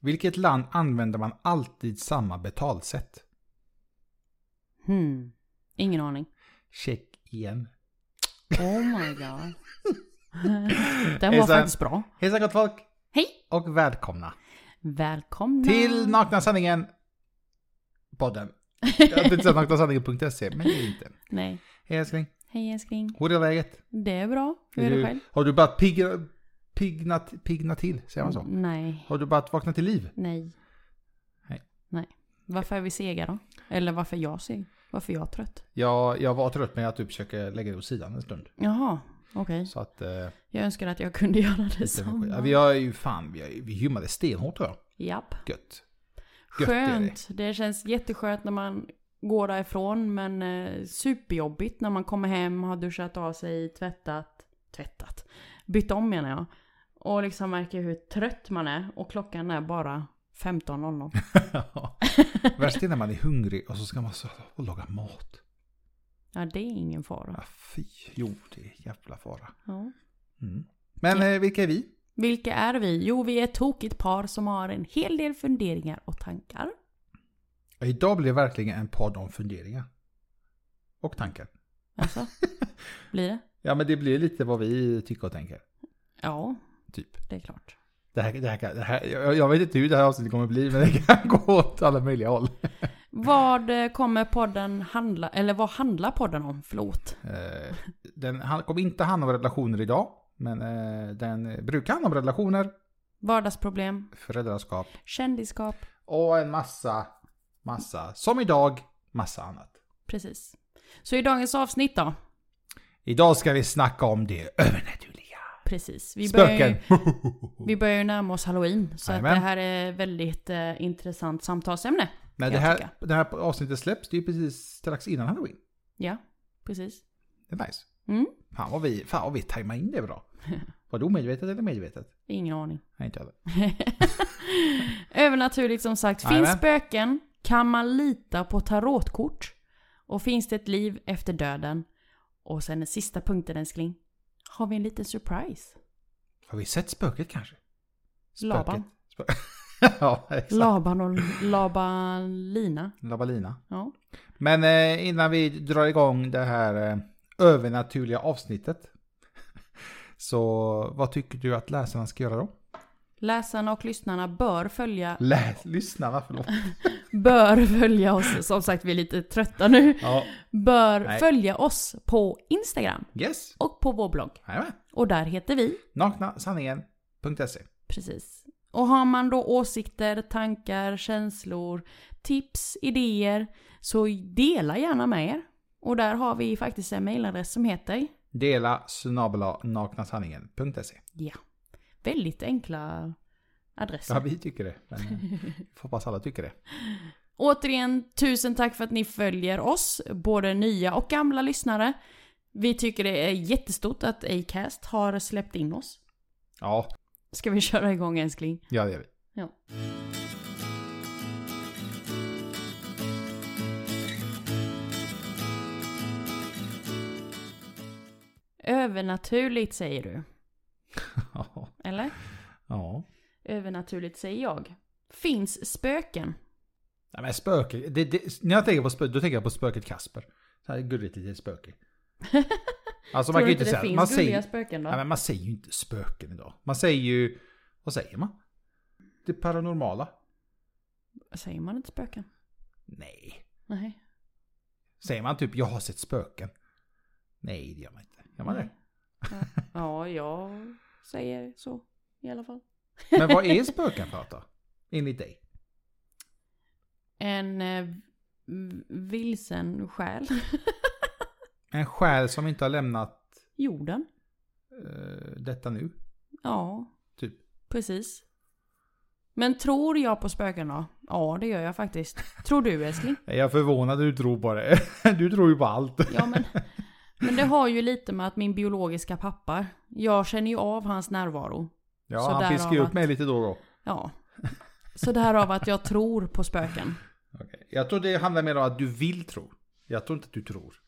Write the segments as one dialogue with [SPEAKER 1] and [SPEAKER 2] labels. [SPEAKER 1] vilket land använder man alltid samma betalsätt?
[SPEAKER 2] Hmm. Ingen aning.
[SPEAKER 1] Check igen.
[SPEAKER 2] Oh my god. Den var
[SPEAKER 1] Hejsan.
[SPEAKER 2] faktiskt bra.
[SPEAKER 1] Hejsan gott folk
[SPEAKER 2] Hej!
[SPEAKER 1] och välkomna
[SPEAKER 2] Välkomna!
[SPEAKER 1] till Nakna Sanningen podden. Jag tänkte säga naknasanningen.se men det är inte.
[SPEAKER 2] Nej.
[SPEAKER 1] Hej älskling,
[SPEAKER 2] Hej älskling.
[SPEAKER 1] hur är läget?
[SPEAKER 2] Det är bra. Hur är
[SPEAKER 1] du,
[SPEAKER 2] det själv?
[SPEAKER 1] Har du börjat pigga, pigna, pigna till? Säger man
[SPEAKER 2] Mm.
[SPEAKER 1] så?
[SPEAKER 2] Nej.
[SPEAKER 1] Har du börjat vakna till liv?
[SPEAKER 2] Nej.
[SPEAKER 1] Nej.
[SPEAKER 2] Nej. Varför är vi sega då? Eller varför är jag seg? Varför är jag trött?
[SPEAKER 1] Jag, jag var trött men jag typ försöker lägga det åt sidan en stund.
[SPEAKER 2] Jaha. Okej.
[SPEAKER 1] Så att... Eh,
[SPEAKER 2] Jag önskar att jag kunde göra detsamma.
[SPEAKER 1] ja, vi har ju fan, vi, har, vi gymmade stenhårt tror jag.
[SPEAKER 2] Japp.
[SPEAKER 1] Gött. Gött är det.
[SPEAKER 2] Skönt. Det känns jätteskönt när man går därifrån men eh, superjobbigt när man kommer hem, har duschat av sig, tvättat, tvättat, bytt om menar jag. Och liksom märker hur trött man är och klockan är bara 15.00.
[SPEAKER 1] Värst är när man är hungrig och så ska man så, och laga mat.
[SPEAKER 2] Ja det är ingen fara.
[SPEAKER 1] Ja, fy, jo det är jävla fara.
[SPEAKER 2] Ja.
[SPEAKER 1] Mm. Men eh, vilka är vi?
[SPEAKER 2] Vilka är vi? Jo vi är ett tokigt par som har en hel del funderingar och tankar.
[SPEAKER 1] Ja, Idag blir det verkligen en podd om funderingar. Och tankar.
[SPEAKER 2] Alltså, blir det?
[SPEAKER 1] Ja men det blir lite vad vi tycker och tänker.
[SPEAKER 2] Ja,
[SPEAKER 1] Typ.
[SPEAKER 2] det är klart.
[SPEAKER 1] Det här, det här, kan- det här, jag, jag vet inte hur det här avsnittet kommer bli men det kan gå åt alla möjliga håll.
[SPEAKER 2] Vad eh, kommer podden handla, eller vad handlar podden om? Förlåt.
[SPEAKER 1] Eh, Den han, kommer inte handla om relationer idag. Men eh, den brukar handla om relationer,
[SPEAKER 2] Vardagsproblem,
[SPEAKER 1] föräldraskap
[SPEAKER 2] Kändisskap.
[SPEAKER 1] och en massa, massa, som idag, massa annat.
[SPEAKER 2] Precis. Så i dagens avsnitt då?
[SPEAKER 1] Idag ska vi snacka om det övernaturliga.
[SPEAKER 2] Precis. Vi börjar, ju,
[SPEAKER 1] Spöken!
[SPEAKER 2] vi börjar ju närma oss halloween. Så att det
[SPEAKER 1] Jajamän.
[SPEAKER 2] här är väldigt eh, intressant samtalsämne.
[SPEAKER 1] Men
[SPEAKER 2] kan
[SPEAKER 1] det
[SPEAKER 2] jag
[SPEAKER 1] här,
[SPEAKER 2] tycka.
[SPEAKER 1] det här avsnittet släpps, det är ju precis strax innan halloween.
[SPEAKER 2] Ja, precis.
[SPEAKER 1] Det är nice.
[SPEAKER 2] Mm.
[SPEAKER 1] Fan vad vi, fan vad vi tajmar in det bra. Var det omedvetet eller medvetet?
[SPEAKER 2] Ingen aning.
[SPEAKER 1] Nej, inte jag heller.
[SPEAKER 2] Övernaturligt som sagt. Finns
[SPEAKER 1] Jajamän.
[SPEAKER 2] spöken? Kan man lita på tarotkort? Och finns det ett liv efter döden? Och sen den sista punkten älskling. Har vi en liten surprise?
[SPEAKER 1] Har vi sett spöket kanske?
[SPEAKER 2] Laban.
[SPEAKER 1] Spö- ja, exakt.
[SPEAKER 2] Laban och Labalina.
[SPEAKER 1] Labalina.
[SPEAKER 2] Ja.
[SPEAKER 1] Men eh, innan vi drar igång det här eh, övernaturliga avsnittet. Så vad tycker du att läsarna ska göra då?
[SPEAKER 2] Läsarna och lyssnarna bör följa
[SPEAKER 1] Läs, lyssnarna, förlåt.
[SPEAKER 2] bör följa oss, som sagt vi är lite trötta nu,
[SPEAKER 1] Ja.
[SPEAKER 2] bör
[SPEAKER 1] Nej.
[SPEAKER 2] följa oss på Instagram
[SPEAKER 1] Yes.
[SPEAKER 2] och på vår blogg.
[SPEAKER 1] Jajamän.
[SPEAKER 2] Och där heter vi,
[SPEAKER 1] Naknasanningen.se.
[SPEAKER 2] precis. Och har man då åsikter, tankar, känslor, tips, idéer så dela gärna med er. Och där har vi faktiskt en mailadress som heter
[SPEAKER 1] Dela snabela naknasanningen.se.
[SPEAKER 2] Ja. Väldigt enkla
[SPEAKER 1] Ja,
[SPEAKER 2] adresser.
[SPEAKER 1] vi tycker det. Men eh, får hoppas alla tycker det.
[SPEAKER 2] Återigen, tusen tack för att ni följer oss, både nya och gamla lyssnare. Vi tycker det är jättestort att Acast har släppt in oss.
[SPEAKER 1] Ja,
[SPEAKER 2] Ska vi köra igång älskling?
[SPEAKER 1] ja det gör vi.
[SPEAKER 2] Ja. Övernaturligt säger du,
[SPEAKER 1] Ja.
[SPEAKER 2] eller?
[SPEAKER 1] ja.
[SPEAKER 2] Övernaturligt säger jag. Finns spöken?
[SPEAKER 1] Nej, men spöke. Det, det, när jag tänker på spöke, då tänker jag på spöket Kasper. Så här gulligt litet spöke. Alltså man
[SPEAKER 2] Tror
[SPEAKER 1] kan
[SPEAKER 2] du
[SPEAKER 1] ju
[SPEAKER 2] inte
[SPEAKER 1] inte
[SPEAKER 2] det
[SPEAKER 1] säga...
[SPEAKER 2] finns
[SPEAKER 1] man säger,
[SPEAKER 2] gulliga spöken då?
[SPEAKER 1] nej, men man säger ju inte spöken idag. Man säger ju... Vad säger man? Det paranormala?
[SPEAKER 2] Säger man inte spöken?
[SPEAKER 1] Nej.
[SPEAKER 2] Nej.
[SPEAKER 1] Säger man typ jag har sett spöken? Nej, det gör man inte. Gör man det?
[SPEAKER 2] Ja, jag säger så i alla fall.
[SPEAKER 1] Men vad är spöken för något då? Enligt dig?
[SPEAKER 2] En eh, v- vilsen själ.
[SPEAKER 1] En själ som inte har lämnat
[SPEAKER 2] Jorden.
[SPEAKER 1] eh, detta nu?
[SPEAKER 2] Ja,
[SPEAKER 1] Typ.
[SPEAKER 2] precis. Men tror jag på spöken då? Ja, det gör jag faktiskt. Tror du älskling?
[SPEAKER 1] Nej, Jag är förvånad att du tror på det. Du tror ju på allt.
[SPEAKER 2] Ja, men, men det har ju lite med att min biologiska pappa, jag känner ju av hans närvaro.
[SPEAKER 1] Ja,
[SPEAKER 2] Så
[SPEAKER 1] han
[SPEAKER 2] därav
[SPEAKER 1] fiskar ju upp
[SPEAKER 2] att-
[SPEAKER 1] mig lite då och då.
[SPEAKER 2] Ja. Så därav att jag tror på spöken.
[SPEAKER 1] Okej. Jag tror det handlar mer om att du vill tro. Jag tror inte att du tror.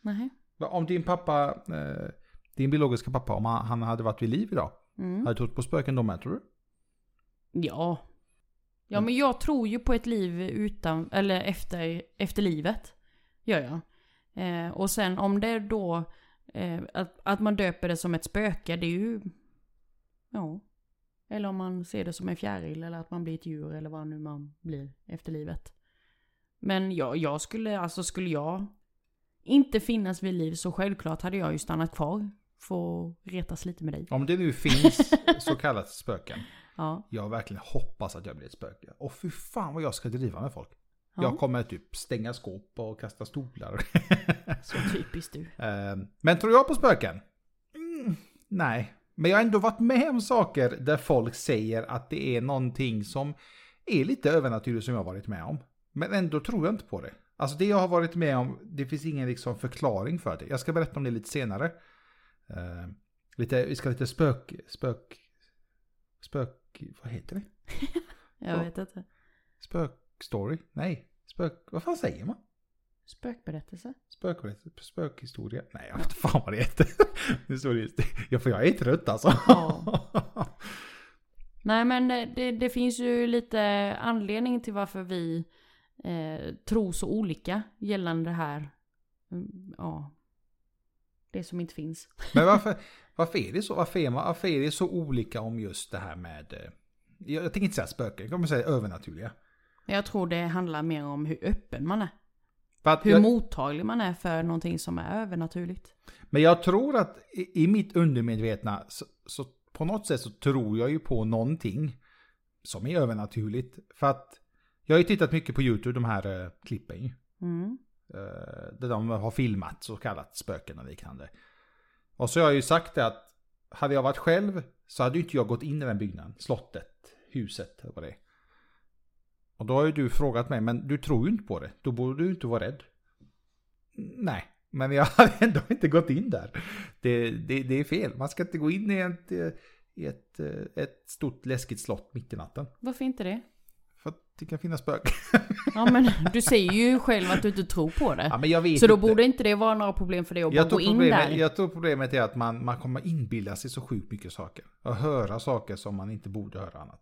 [SPEAKER 2] Nej.
[SPEAKER 1] Men Om din pappa, eh, din biologiska pappa, om han, han hade varit vid liv idag.
[SPEAKER 2] Mm.
[SPEAKER 1] Hade du trott på spöken då med, tror du?
[SPEAKER 2] Ja. Ja
[SPEAKER 1] Mm.
[SPEAKER 2] men jag tror ju på ett liv utan, eller efter, efter livet. Gör jag. Eh, och sen om det då, eh, att, att man döper det som ett spöke, det är ju... Ja. Eller om man ser det som en fjäril eller att man blir ett djur eller vad nu man blir efter livet. Men jag, jag skulle, alltså skulle jag inte finnas vid liv så självklart hade jag ju stannat kvar. Få retas lite med dig.
[SPEAKER 1] Om det nu finns så kallat spöken.
[SPEAKER 2] Ja.
[SPEAKER 1] Jag verkligen hoppas att jag blir ett spöke. Och fy fan vad jag ska driva med folk.
[SPEAKER 2] ja.
[SPEAKER 1] Jag kommer typ stänga skåp och kasta stolar.
[SPEAKER 2] Så typiskt du.
[SPEAKER 1] Eh, Men tror jag på spöken? Mm, nej. Men jag har ändå varit med om saker där folk säger att det är någonting som är lite övernaturligt som jag har varit med om. Men ändå tror jag inte på det. Alltså det jag har varit med om, det finns ingen liksom förklaring för det. Jag ska berätta om det lite senare. Eh, lite, vi ska lite spök... Spök... Spök... Vad heter det?
[SPEAKER 2] Jag
[SPEAKER 1] Ja.
[SPEAKER 2] vet inte.
[SPEAKER 1] Spökstory? Nej. Spök... Vad fan säger man?
[SPEAKER 2] Spökberättelse?
[SPEAKER 1] Spökberättelse, spökhistoria. Nej, jag vet inte fan vad det heter. Nu står det just Ja, för jag är trött alltså.
[SPEAKER 2] Ja. Nej men eh, det, det finns ju lite anledning till varför vi eh, tror så olika gällande det här. Mm, Ja. Det som inte finns.
[SPEAKER 1] Men varför, varför är det så? Varför är, man, varför är det så olika om just det här med... eh, Jag, jag tänker inte säga spöken, jag kommer säga övernaturliga.
[SPEAKER 2] Men jag tror det handlar mer om hur öppen man är.
[SPEAKER 1] För att
[SPEAKER 2] Hur
[SPEAKER 1] jag,
[SPEAKER 2] mottaglig man är för någonting som är övernaturligt.
[SPEAKER 1] men jag tror att i, i mitt undermedvetna, så, så på något sätt så tror jag ju på någonting som är övernaturligt. För att jag har ju tittat mycket på YouTube, de här eh, klippen ju.
[SPEAKER 2] Mm.
[SPEAKER 1] Eh, Där de har filmat så kallat spöken och liknande. Och så har jag ju sagt det att hade jag varit själv så hade ju inte jag gått in i den byggnaden. Slottet, huset eller vad det är. Och då har ju du frågat mig, men du tror ju inte på det. Då borde du inte vara rädd. Nej, men jag hade ändå inte gått in där. Det, det, det är fel. Man ska inte gå in i ett, eh, i ett, eh, ett stort läskigt slott mitt i natten.
[SPEAKER 2] Varför inte det?
[SPEAKER 1] För att det kan finnas spöken.
[SPEAKER 2] Ja men du säger ju själv att du inte tror på det.
[SPEAKER 1] Ja, men jag vet
[SPEAKER 2] så då
[SPEAKER 1] inte.
[SPEAKER 2] borde inte det vara några problem för dig att bara
[SPEAKER 1] Jag
[SPEAKER 2] gå
[SPEAKER 1] tror,
[SPEAKER 2] in
[SPEAKER 1] problemet,
[SPEAKER 2] där.
[SPEAKER 1] jag tror problemet är att man, man kommer inbilda sig så sjukt mycket saker. Och höra saker som man inte borde höra annat.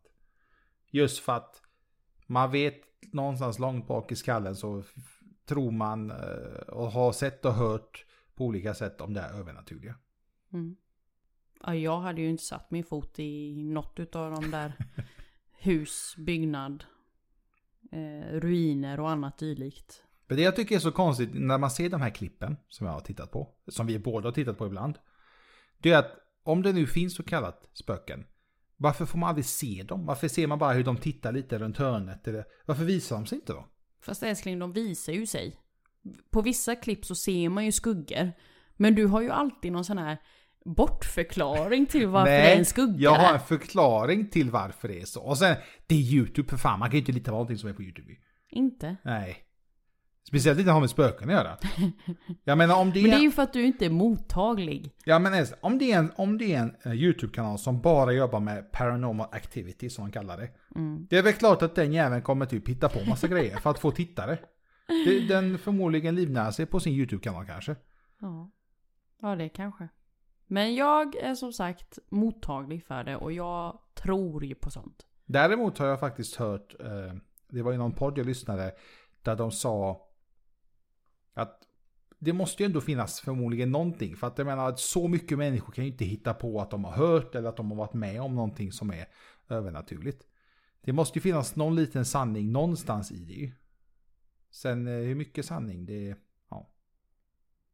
[SPEAKER 1] Just för att man vet någonstans långt bak i skallen så f- tror man eh, och har sett och hört på olika sätt om det här övernaturliga.
[SPEAKER 2] Mm. Ja, jag hade ju inte satt min fot i något av de där hus, byggnad, eh, ruiner och annat dylikt.
[SPEAKER 1] Men det jag tycker är så konstigt när man ser de här klippen som jag har tittat på, som vi båda har tittat på ibland. Det är att om det nu finns så kallat spöken, varför får man aldrig se dem? Varför ser man bara hur de tittar lite runt hörnet? Eller, varför visar de sig inte då?
[SPEAKER 2] Fast älskling, de visar ju sig. På vissa klipp så ser man ju skuggor. Men du har ju alltid någon sån här bortförklaring till varför det är en skugga.
[SPEAKER 1] jag har
[SPEAKER 2] där.
[SPEAKER 1] en förklaring till varför det är så. Och sen, det är YouTube för fan, man kan ju inte lita på någonting som är på YouTube.
[SPEAKER 2] Inte.
[SPEAKER 1] Nej. Speciellt inte har med spöken att göra. Jag menar om det är,
[SPEAKER 2] Men det är ju för att du inte är mottaglig.
[SPEAKER 1] ja, men Elsa, om det är en, om det är en eh, YouTube-kanal som bara jobbar med paranormal activity som de kallar det.
[SPEAKER 2] Mm.
[SPEAKER 1] Det är väl klart att den jäveln kommer typ hitta på massa grejer för att få tittare. Det- Den förmodligen livnär sig på sin YouTube-kanal kanske.
[SPEAKER 2] Ja. ja, det kanske. Men jag är som sagt mottaglig för det och jag tror ju på sånt.
[SPEAKER 1] Däremot har jag faktiskt hört, eh, det var ju någon podd jag lyssnade, där de sa att det måste ju ändå finnas förmodligen någonting. För att jag menar, att så mycket människor kan ju inte hitta på att de har hört eller att de har varit med om någonting som är övernaturligt. Det måste ju finnas någon liten sanning någonstans i det ju. Sen eh, hur mycket sanning, det... Ja.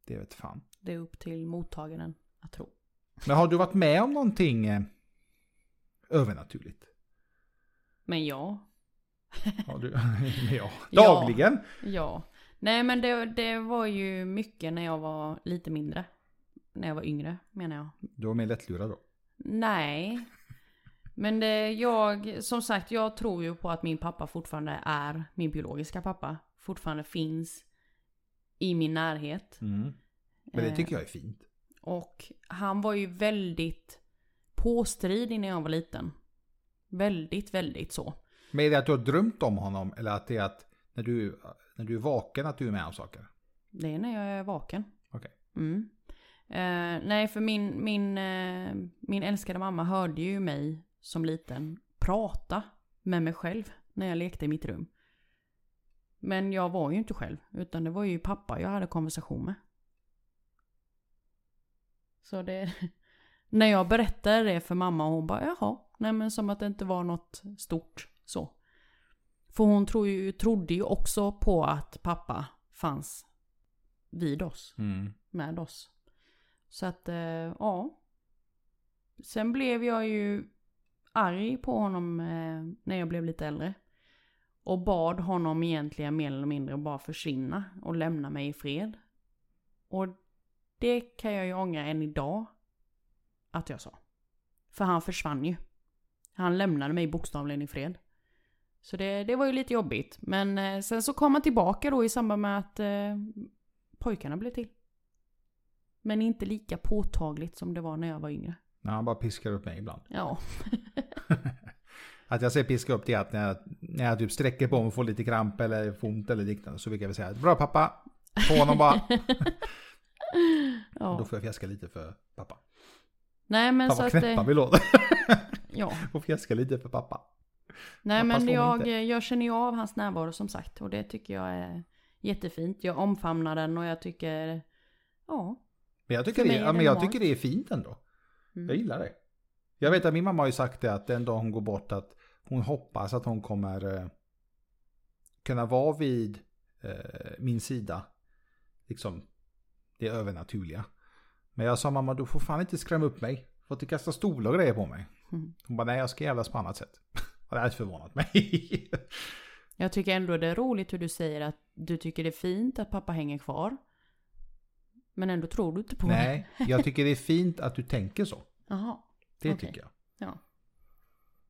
[SPEAKER 1] Det vet fan.
[SPEAKER 2] Det är upp till mottagaren att tro.
[SPEAKER 1] Men har du varit med om någonting eh, övernaturligt?
[SPEAKER 2] Men ja,
[SPEAKER 1] Har du? ja.
[SPEAKER 2] Ja.
[SPEAKER 1] Dagligen?
[SPEAKER 2] ja. Nej men det, det var ju mycket när jag var lite mindre. När jag var yngre menar jag.
[SPEAKER 1] Du var mer lättlurad då.
[SPEAKER 2] Nej. Men det, jag, som sagt, jag tror ju på att min pappa fortfarande är min biologiska pappa. Fortfarande finns i min närhet.
[SPEAKER 1] Men det
[SPEAKER 2] Eh,
[SPEAKER 1] tycker jag är fint.
[SPEAKER 2] Och han var ju väldigt påstridig när jag var liten. Väldigt, väldigt så.
[SPEAKER 1] Men är det att du har drömt om honom eller att det är att när du, när du är vaken att du är med om saker?
[SPEAKER 2] Det är när jag är vaken.
[SPEAKER 1] Okej.
[SPEAKER 2] Mm. Eh, nej, för min, min, eh, min älskade mamma hörde ju mig som liten prata med mig själv när jag lekte i mitt rum. Men jag var ju inte själv, utan det var ju pappa jag hade konversation med. Så det... När jag berättade det för mamma, hon bara jaha, nej men som att det inte var något stort så. För hon tro ju, trodde ju också på att pappa fanns vid oss
[SPEAKER 1] Mm.
[SPEAKER 2] med oss. Så att, eh, ja. Sen blev jag ju arg på honom eh, när jag blev lite äldre. Och bad honom egentligen mer eller mindre att bara försvinna och lämna mig i fred. Och det kan jag ju ångra än idag att jag sa. För han försvann ju. Han lämnade mig bokstavligen i fred. Så det, det var ju lite jobbigt. Men eh, sen så kom han tillbaka då i samband med att eh, pojkarna blev till. Men inte lika påtagligt som det var när jag var yngre.
[SPEAKER 1] Ja, han bara piskar upp mig ibland.
[SPEAKER 2] Ja.
[SPEAKER 1] Att jag säger piska upp det är att när jag, när jag typ sträcker på mig och får lite kramp eller får ont eller liknande så brukar jag väl säga bra pappa. På honom bara.
[SPEAKER 2] ja.
[SPEAKER 1] Då får jag fjäska lite för pappa.
[SPEAKER 2] Nej men
[SPEAKER 1] Fan
[SPEAKER 2] så
[SPEAKER 1] vad
[SPEAKER 2] att...
[SPEAKER 1] knäppa
[SPEAKER 2] eh,
[SPEAKER 1] vi låter.
[SPEAKER 2] Ja.
[SPEAKER 1] Får fjäska lite för pappa.
[SPEAKER 2] Nej
[SPEAKER 1] Pappa
[SPEAKER 2] men
[SPEAKER 1] slår mig
[SPEAKER 2] jag,
[SPEAKER 1] inte.
[SPEAKER 2] jag känner ju av hans närvaro som sagt. Och det tycker jag är jättefint. Jag omfamnar den och jag tycker... Ja.
[SPEAKER 1] Men jag tycker, det,
[SPEAKER 2] För mig är
[SPEAKER 1] ja,
[SPEAKER 2] det
[SPEAKER 1] men jag
[SPEAKER 2] normalt.
[SPEAKER 1] tycker det är fint ändå.
[SPEAKER 2] Mm.
[SPEAKER 1] Jag gillar det. Jag vet att min mamma har ju sagt det att den dag hon går bort att hon hoppas att hon kommer eh, kunna vara vid eh, min sida. Liksom det övernaturliga. Men jag sa mamma du får fan inte skrämma upp mig. Får inte kasta stolar och grejer på mig.
[SPEAKER 2] Mm.
[SPEAKER 1] Hon bara nej jag ska jävlas på annat sätt. Och det hade förvånat mig.
[SPEAKER 2] Jag tycker ändå det är roligt hur du säger att du tycker det är fint att pappa hänger kvar. Men ändå tror du inte på det.
[SPEAKER 1] nej, jag tycker det är fint att du tänker så.
[SPEAKER 2] Jaha.
[SPEAKER 1] Det
[SPEAKER 2] Okej.
[SPEAKER 1] tycker jag.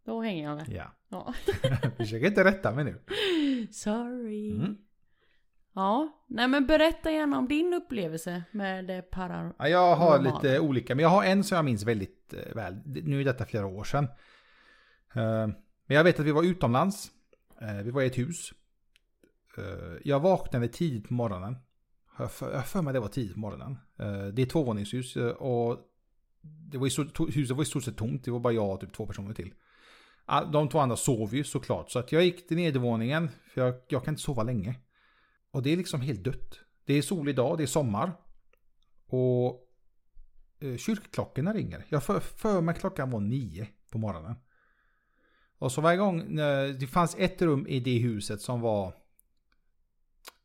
[SPEAKER 2] Då hänger jag med.
[SPEAKER 1] Ja.
[SPEAKER 2] Ja.
[SPEAKER 1] Försök inte rätta mig nu.
[SPEAKER 2] Sorry.
[SPEAKER 1] Mm.
[SPEAKER 2] Ja, nej men berätta gärna om din upplevelse med det para...
[SPEAKER 1] Ja, jag har
[SPEAKER 2] Normalt.
[SPEAKER 1] lite olika, men jag har en som jag minns väldigt eh, väl. Nu är detta flera år sedan. Eh, Men jag vet att vi var utomlands. Eh, Vi var i ett hus. Eh, Jag vaknade tidigt på morgonen. Har Jag för- jag har för mig det var tidigt på morgonen. Eh, Det är ett tvåvåningshus eh, och det var i stort, to- huset var i stort sett tomt. Det var bara jag och typ två personer till. All- De två andra sov ju såklart. Så att jag gick till nedervåningen, för jag, jag kan inte sova länge. Och det är liksom helt dött. Det är solig dag, det är sommar. Och eh, kyrkklockorna ringer. Jag för, för mig klockan var nio på morgonen. Och så varje gång, eh, det fanns ett rum i det huset som var...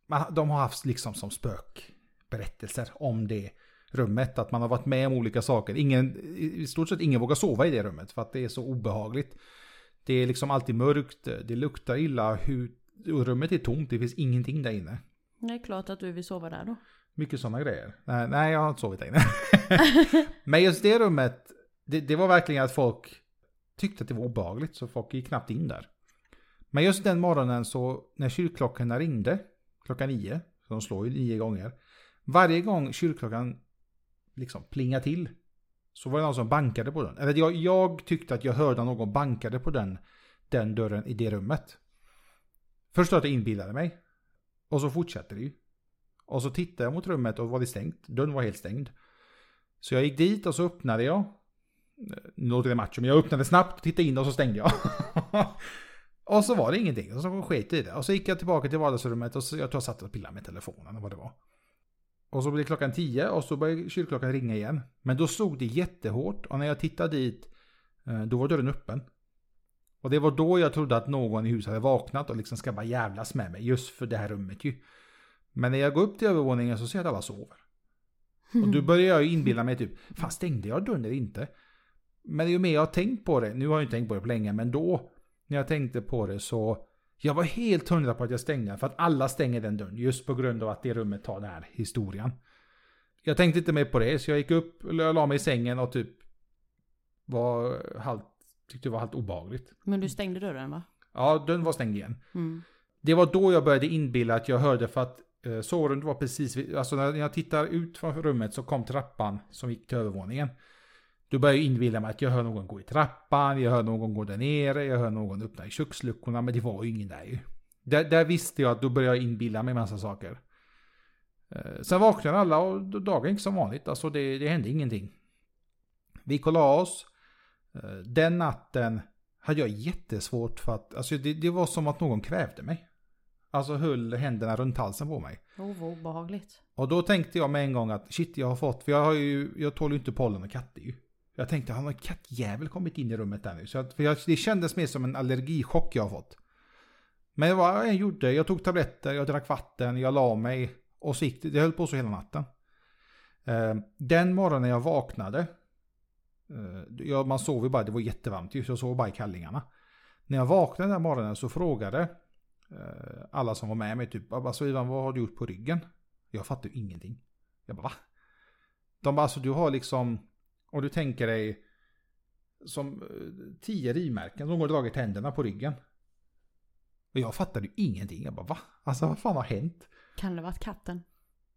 [SPEAKER 1] Man, de har haft liksom som spökberättelser om det rummet. Att man har varit med om olika saker. Ingen, I i stort sett ingen vågar sova i det rummet för att det är så obehagligt. Det är liksom alltid mörkt, det luktar illa, hur, och rummet är tomt, det finns ingenting där inne.
[SPEAKER 2] Det är klart att du vill sova där då.
[SPEAKER 1] Mycket sådana grejer. Nej, nej, jag har inte sovit där inne. Men just det rummet, det, det var verkligen att folk tyckte att det var obehagligt så folk gick knappt in där. Men just den morgonen så när kyrkklockorna ringde, klockan nio, så de slår ju nio gånger. Varje gång kyrkklockan liksom plingade till så var det någon som bankade på den. Eller jag, jag tyckte att jag hörde att någon bankade på den, den dörren i det rummet. Först att jag inbillade mig. Och så fortsatte det ju. Och så tittade jag mot rummet och var det stängt. Dörren var helt stängd. Så jag gick dit och så öppnade jag. Nu låter det macho, men jag öppnade snabbt, tittade in och så stängde jag. och så var det ingenting. Och så sket jag i det. Och så gick jag tillbaka till vardagsrummet och så, jag tror jag satt och pillade med telefonen eller vad det var. Och så blev klockan tio och så började kyrkklockan ringa igen. Men då slog det jättehårt och när jag tittade dit eh, då var dörren öppen. Och det var då jag trodde att någon i huset hade vaknat och liksom ska bara jävlas med mig just för det här rummet ju. Men när jag går upp till övervåningen så ser jag att alla sover. Och då börjar jag ju inbilla mig typ, fan stängde jag dörren eller inte? Men ju mer jag har tänkt på det, nu har jag inte tänkt på det på länge, men då när jag tänkte på det så jag var helt hundra på att jag stängde den, för att alla stänger den dörren just på grund av att det rummet tar den här historien. Jag tänkte inte mer på det, så jag gick upp, eller jag la mig i sängen och typ var halvt, tyckte det var halvt obehagligt.
[SPEAKER 2] Men du stängde dörren va?
[SPEAKER 1] Ja, dörren var stängd igen.
[SPEAKER 2] Mm.
[SPEAKER 1] Det var då jag började inbilla att jag hörde för att eh, sovrummet var precis vid, alltså när jag tittar ut från rummet så kom trappan som gick till övervåningen. Då började jag inbilla mig att jag hör någon gå i trappan, jag hör någon gå där nere, jag hör någon öppna i köksluckorna, men det var ju ingen där ju. Där, där visste jag att då började jag inbilla mig massa saker. Eh, sen vaknade alla och d- dagen gick som vanligt, alltså det, det hände ingenting. Vi kollade oss. Eh, den natten hade hade jag jättesvårt för att, alltså det, det var som att någon kvävde mig. Alltså höll händerna runt halsen på mig.
[SPEAKER 2] Oh, vad obehagligt.
[SPEAKER 1] Och då tänkte jag med en gång att shit jag har fått, för jag har ju, jag tål ju inte pollen och katter ju. Jag tänkte har någon kattjävel kommit in i rummet där nu? Så att, för jag, det kändes mer som en allergichock jag har fått. Men vad jag gjorde, jag tog tabletter, jag drack vatten, jag la mig och så gick det, det höll på så hela natten. Eh, Den morgonen jag vaknade, eh, ja, man sov ju bara, det var jättevarmt ju, så jag sov bara i kallingarna. När jag vaknade den morgonen så frågade eh, alla som var med mig typ, alltså Ivan vad har du gjort på ryggen? Jag fattar ju ingenting. Jag bara va? De bara alltså du har liksom, och du tänker dig som eh, tio rivmärken som går och dragit händerna på ryggen. Och jag fattade ju ingenting. Jag bara va? Alltså vad fan har hänt?
[SPEAKER 2] Kan det varit katten?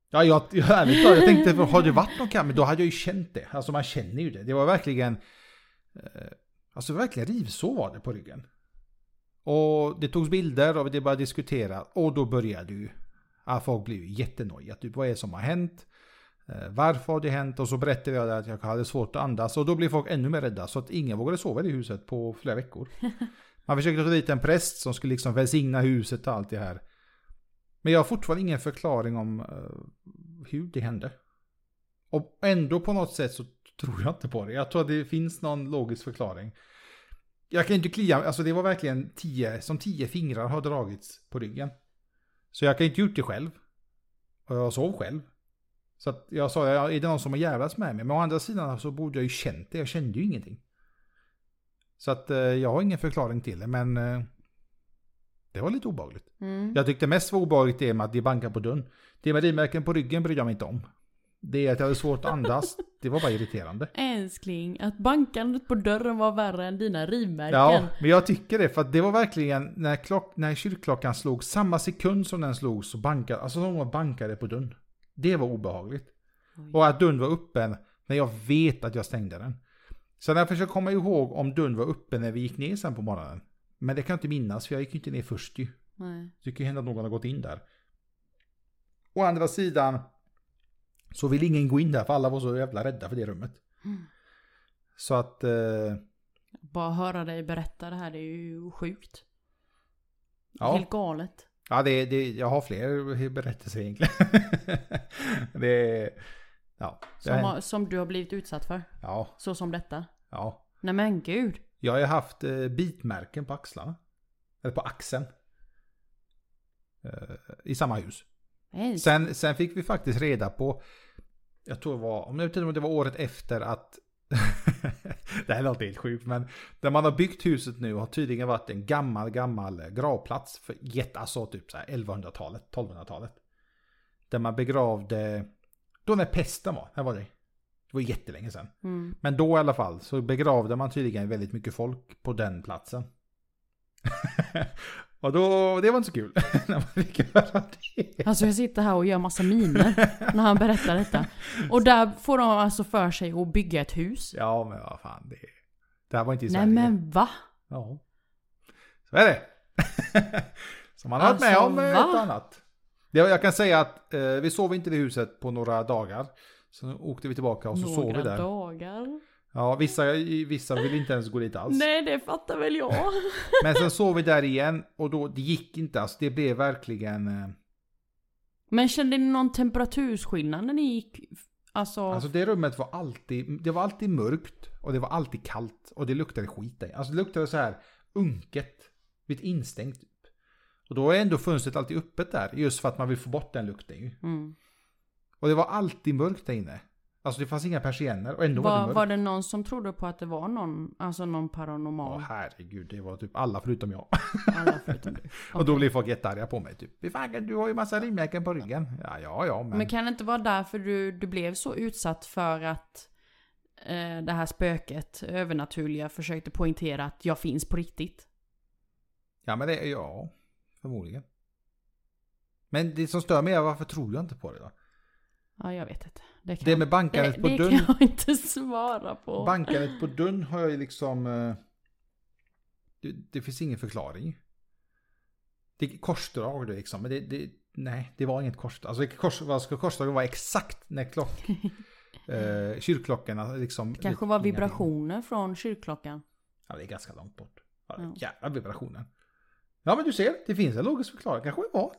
[SPEAKER 1] Ja, jag, jag, ärligt, talat, jag tänkte, för har det varit någon kamp, men då hade jag ju känt det. Alltså man känner ju det. Det var verkligen... Eh, alltså verkligen rivsår var det på ryggen. Och det togs bilder och det började diskutera. Och då började ju... Ja, folk blev ju jättenojiga. Typ vad är det som har hänt? Eh, varför har det hänt? Och så berättade jag att jag hade svårt att andas. Och då blev folk ännu mer rädda. Så att ingen vågade sova i huset på flera veckor. Man försökte ta dit en präst som skulle liksom välsigna huset och allt det här. Men jag har fortfarande ingen förklaring om eh, hur det hände. Och ändå på något sätt så tror jag inte på det. Jag tror att det finns någon logisk förklaring. Jag kan inte klia, alltså det var verkligen tio, som tio fingrar har dragits på ryggen. Så jag kan inte gjort det själv. Och jag sov själv. Så att jag sa, ja, är det någon som har jävlats med mig? Men å andra sidan så borde jag ju känt det, jag kände ju ingenting. Så att eh, jag har ingen förklaring till det, men eh, det var lite obehagligt.
[SPEAKER 2] Mm.
[SPEAKER 1] Jag tyckte mest var obehagligt det med att det bankar på dörren. Det med rimärken på ryggen brydde jag mig inte om. Det att jag hade svårt att andas, det var bara irriterande.
[SPEAKER 2] Älskling, att bankandet på dörren var värre än dina rivmärken.
[SPEAKER 1] Ja, men jag tycker det för att det var verkligen när, klock, när kyrkklockan slog, samma sekund som den slog så bankade, alltså någon bankade på dörren. Det var obehagligt.
[SPEAKER 2] Oj.
[SPEAKER 1] Och att dörren var öppen när jag vet att jag stängde den. Så jag försöker komma ihåg om dörren var öppen när vi gick ner sen på morgonen. Men det kan jag inte minnas för jag gick ju inte ner först ju.
[SPEAKER 2] Nej.
[SPEAKER 1] Det kan ju hända att någon har gått in där. Å andra sidan så vill ingen gå in där för alla var så jävla rädda för det rummet.
[SPEAKER 2] Mm.
[SPEAKER 1] Så att... Eh,
[SPEAKER 2] Bara höra dig berätta det här, det är ju sjukt.
[SPEAKER 1] ja,
[SPEAKER 2] Helt galet.
[SPEAKER 1] ja det, det, jag har fler berättelser egentligen. det... Ja, det
[SPEAKER 2] Som,
[SPEAKER 1] har hänt.
[SPEAKER 2] har, som du har blivit utsatt för.
[SPEAKER 1] ja,
[SPEAKER 2] Så som detta.
[SPEAKER 1] ja.
[SPEAKER 2] Nej men gud.
[SPEAKER 1] Jag har ju haft eh, bitmärken på axlarna. Eller på axeln. Eh, I samma hus.
[SPEAKER 2] Älskling.
[SPEAKER 1] Sen, sen fick vi faktiskt reda på, jag tror det var, om jag vet inte om det var året efter att, det här låter helt sjukt, men där man har byggt huset nu har tydligen varit en gammal, gammal gravplats för jätte, alltså typ så här 1100-talet, 1200-talet. Där man begravde, då när pesten var, här var det. Det var jättelänge sedan.
[SPEAKER 2] Mm.
[SPEAKER 1] Men då i alla fall så begravde man tydligen väldigt mycket folk på den platsen. och då, det var inte så kul när man fick höra det.
[SPEAKER 2] Alltså jag sitter här och gör massa miner när han berättar detta. Och där får de alltså för sig att bygga ett hus.
[SPEAKER 1] Ja, men vad fan. Det, det här var inte i
[SPEAKER 2] Nej
[SPEAKER 1] Sverige.
[SPEAKER 2] men va?
[SPEAKER 1] Ja. Så är det. Som man har varit med
[SPEAKER 2] Alltså,
[SPEAKER 1] om eh,
[SPEAKER 2] va?
[SPEAKER 1] ett annat. Det, jag kan säga att eh, vi sov inte i det huset på några dagar. Sen åkte vi tillbaka och så sov vi
[SPEAKER 2] Några
[SPEAKER 1] där.
[SPEAKER 2] dagar.
[SPEAKER 1] Ja, vissa, vissa ville inte ens gå dit alls.
[SPEAKER 2] Nej det fattar väl jag.
[SPEAKER 1] Men sen sov vi där igen och då, det gick inte. Alltså, det blev verkligen... Eh,
[SPEAKER 2] Men kände ni någon temperatursskillnad när ni gick? Alltså,
[SPEAKER 1] Alltså det rummet var alltid, det var alltid mörkt och det var alltid kallt och det luktade skit där. Alltså det luktade så här unket, lite instängt. Typ. Och då är ändå fönstret alltid öppet där, just för att man vill få bort den lukten ju.
[SPEAKER 2] mm.
[SPEAKER 1] Och det var alltid mörkt där inne. Alltså det fanns inga persienner och ändå var, det
[SPEAKER 2] var,
[SPEAKER 1] mörkt.
[SPEAKER 2] var det någon som trodde på att det var någon, alltså någon
[SPEAKER 1] Åh
[SPEAKER 2] paranormal?
[SPEAKER 1] herregud, det var typ alla förutom jag.
[SPEAKER 2] Alla förutom du.
[SPEAKER 1] Och då blev folk jättearga på mig typ. "Fy Fan, du har ju massa rimärken på ryggen. Ja, ja, ja, men...
[SPEAKER 2] Men kan det inte vara därför du, du blev så utsatt för att eh, det här spöket, övernaturliga, försökte poängtera att jag finns på riktigt?
[SPEAKER 1] Ja, men det, ja, förmodligen. Men det som stör mig är varför tror jag inte på det då?
[SPEAKER 2] Ja, jag vet inte. Det, kan
[SPEAKER 1] Det med
[SPEAKER 2] det,
[SPEAKER 1] bankandet på
[SPEAKER 2] det
[SPEAKER 1] dörren.
[SPEAKER 2] kan jag inte svara på.
[SPEAKER 1] Bankandet på dörren har jag ju liksom... eh, Det, det finns ingen förklaring. Det är korsdrag det liksom, men det, det... Nej, det var inget korsdrag. Alltså kors, vad ska korsdrag vara exakt när klock... eh, kyrkklockorna liksom...
[SPEAKER 2] det kanske var
[SPEAKER 1] klingade in.
[SPEAKER 2] vibrationer från kyrkklockan.
[SPEAKER 1] Ja, det är ganska långt bort. Ja, Bara, Jävla vibrationen. Ja men du ser, det finns en logisk förklaring. Kanske det var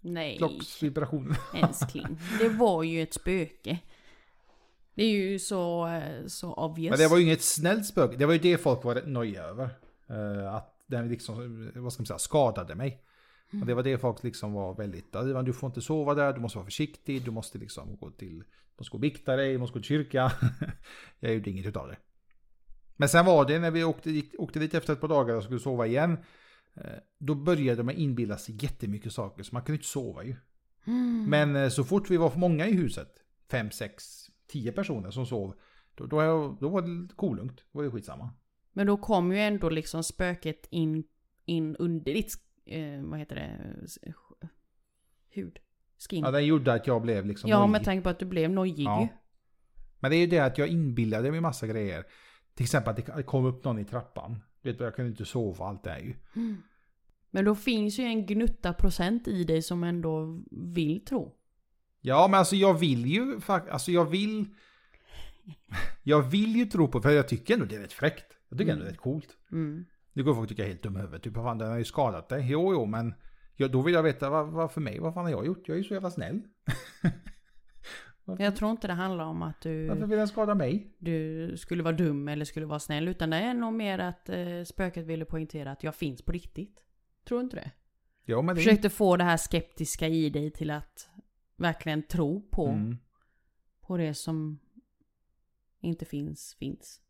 [SPEAKER 2] Nej,
[SPEAKER 1] kyrklocksvibrationen.
[SPEAKER 2] älskling. Det var ju ett spöke. Det är ju så, eh, så obvious.
[SPEAKER 1] Men det var ju inget snällt spöke. Det var ju det folk var nojiga över. Eh, att den liksom, vad ska man säga, skadade mig. Och det var det folk liksom var väldigt, "Ivan, du får inte sova där, du måste vara försiktig, du måste liksom gå till, du måste gå och bikta dig, du måste gå till kyrka. Jag gjorde inget utav det. Men sen var det när vi åkte, gick, åkte dit efter ett par dagar och skulle sova igen. eh, Då började man inbilla sig jättemycket saker, så man kunde inte sova ju.
[SPEAKER 2] Mm.
[SPEAKER 1] Men eh, så fort vi var för många i huset, fem, sex, tio personer som sov, då, då, då var det kolugnt. Då var det skitsamma.
[SPEAKER 2] Men då kom ju ändå liksom spöket in, in under ditt, eh, vad heter det, S- sk- hud? Skin.
[SPEAKER 1] Ja,
[SPEAKER 2] Ja,
[SPEAKER 1] den gjorde att jag blev liksom
[SPEAKER 2] med
[SPEAKER 1] nojig.
[SPEAKER 2] tanke på att du blev nojig
[SPEAKER 1] Ja.
[SPEAKER 2] ju.
[SPEAKER 1] Men det är ju det att jag inbillade mig massa grejer. Till exempel att det kom upp någon i trappan. Du vet, jag kunde inte sova och allt det här ju.
[SPEAKER 2] Men då finns ju en gnutta procent i dig som ändå vill tro.
[SPEAKER 1] Ja, men alltså jag vill ju faktiskt, alltså jag vill... Jag vill ju tro på, för jag tycker ändå det är rätt fräckt. Jag tycker ändå det är rätt coolt.
[SPEAKER 2] Mm.
[SPEAKER 1] Det går folk tycka är helt dum i huvudet. Typ, vad fan, den har ju skadat dig. Jo, jo, men jag, då vill jag veta vad, vad för mig, vad fan har jag gjort? Jag är ju så jävla snäll.
[SPEAKER 2] Jag tror inte det handlar om att
[SPEAKER 1] Varför
[SPEAKER 2] du,
[SPEAKER 1] vill den skada mig?
[SPEAKER 2] du skulle vara dum eller skulle vara snäll. Utan det är nog mer att eh, spöket ville poängtera att jag finns på riktigt. Tror du inte det?
[SPEAKER 1] Jo, men det är...
[SPEAKER 2] Försökte få det här skeptiska i dig till att verkligen tro på
[SPEAKER 1] Mm.
[SPEAKER 2] på det som inte finns, finns.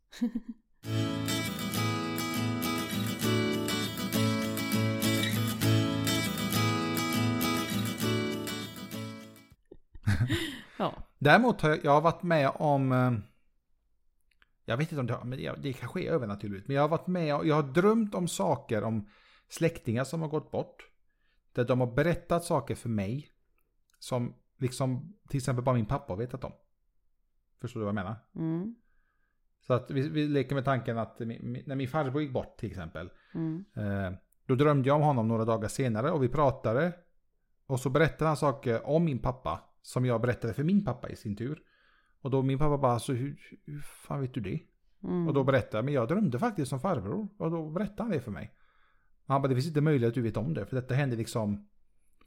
[SPEAKER 2] ja.
[SPEAKER 1] Däremot har jag, jag har varit med om... eh, Jag vet inte om det, har- men det, det kanske är övernaturligt. Men jag har varit med och jag har drömt om saker om släktingar som har gått bort. Där de har berättat saker för mig. Som liksom till exempel bara min pappa har vetat om. Förstår du vad jag menar?
[SPEAKER 2] Mm,
[SPEAKER 1] Så att vi, vi leker med tanken att min, min, när min farbror gick bort till exempel.
[SPEAKER 2] mm,
[SPEAKER 1] Eh, Då drömde jag om honom några dagar senare och vi pratade. Och så berättade han saker om min pappa som jag berättade för min pappa i sin tur. Och då min pappa bara, så hur, hur fan vet du det?
[SPEAKER 2] mm.
[SPEAKER 1] Och då berättade jag, men jag drömde faktiskt som farbror. Och då berättade han det för mig. Och han bara, det finns inte möjlighet att du vet om det, för detta hände liksom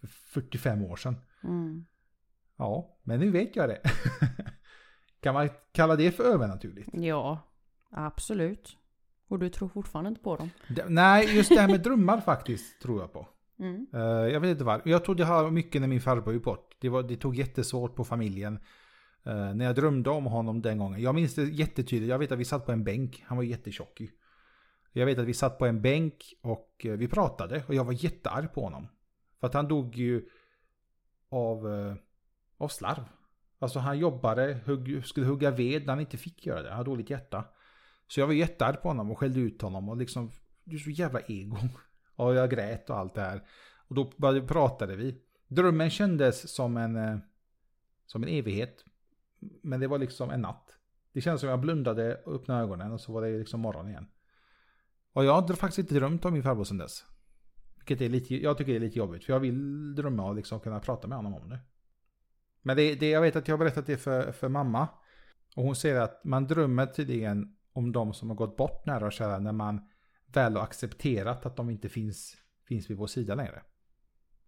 [SPEAKER 1] för 45 år sedan.
[SPEAKER 2] Mm.
[SPEAKER 1] Ja, men nu vet jag det. kan man kalla det för övernaturligt?
[SPEAKER 2] Ja, absolut. Och du tror fortfarande inte på dem?
[SPEAKER 1] Det- Nej, just det här med drömmar faktiskt tror jag på.
[SPEAKER 2] Mm.
[SPEAKER 1] Eh, jag vet inte varför. Jag tror det har mycket när min farbror gick bort. Det, var, det tog jättesvårt på familjen. Eh, när jag drömde om honom den gången. Jag minns det jättetydligt. Jag vet att vi satt på en bänk. Han var ju jättetjock ju. Jag vet att vi satt på en bänk och eh, vi pratade. Och jag var jättearg på honom. För att han dog ju av, eh, av slarv. Alltså han jobbade, hugg, skulle hugga ved när han inte fick göra det. Han hade dåligt hjärta. Så jag var jättearg på honom och skällde ut honom. Och liksom, du är så jävla ego. Och jag grät och allt det här. Och då började, pratade vi. Drömmen kändes som en, eh, som en evighet. Men det var liksom en natt. Det kändes som jag blundade och öppnade ögonen och så var det liksom morgon igen. Och jag har faktiskt inte drömt om min farbror sedan dess. Vilket är lite, jag tycker det är lite jobbigt för jag vill drömma och liksom kunna prata med honom om det. Men det, det, jag vet att jag har berättat det för, för mamma. Och hon säger att man drömmer tydligen om de som har gått bort nära och kära när man väl har accepterat att de inte finns, finns vid vår sida längre.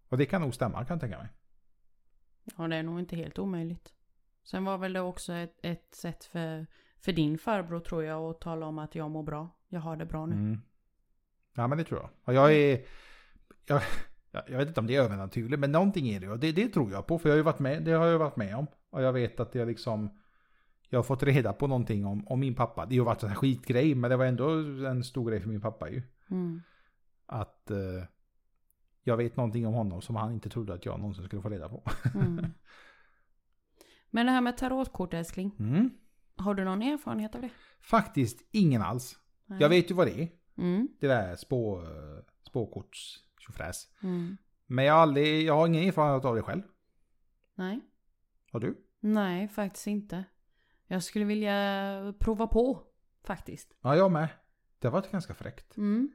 [SPEAKER 1] Och det kan nog stämma kan jag tänka mig.
[SPEAKER 2] Ja, det är nog inte helt omöjligt. Sen var väl det också ett, ett sätt för, för din farbror tror jag att tala om att jag mår bra. Jag har det bra nu.
[SPEAKER 1] Mm. Ja men det tror jag. Och jag är... Jag, jag- jag vet inte om det är övernaturligt men någonting är det ju. Och Det, det tror jag på för jag har ju varit med, det har jag ju varit med om. Och jag vet att jag liksom... Jag har fått reda på någonting om, om min pappa. Det har ju varit en skitgrej men det var ändå en stor grej för min pappa ju.
[SPEAKER 2] Mm.
[SPEAKER 1] Att eh, jag vet någonting om honom som han inte trodde att jag någonsin skulle få reda på.
[SPEAKER 2] Mm. Men det här med tarotkort älskling.
[SPEAKER 1] Mm.
[SPEAKER 2] Har du någon erfarenhet av det?
[SPEAKER 1] Faktiskt ingen alls.
[SPEAKER 2] Nej.
[SPEAKER 1] Jag vet ju vad det är.
[SPEAKER 2] Mm.
[SPEAKER 1] Det där spå, spåkorts tjofräs.
[SPEAKER 2] Mm.
[SPEAKER 1] Men jag har, aldrig, jag har ingen erfarenhet av det själv.
[SPEAKER 2] Nej.
[SPEAKER 1] Har du?
[SPEAKER 2] Nej, faktiskt inte. Jag skulle vilja prova på. Faktiskt.
[SPEAKER 1] Ja, jag med. Det har varit ganska fräckt.
[SPEAKER 2] Mm.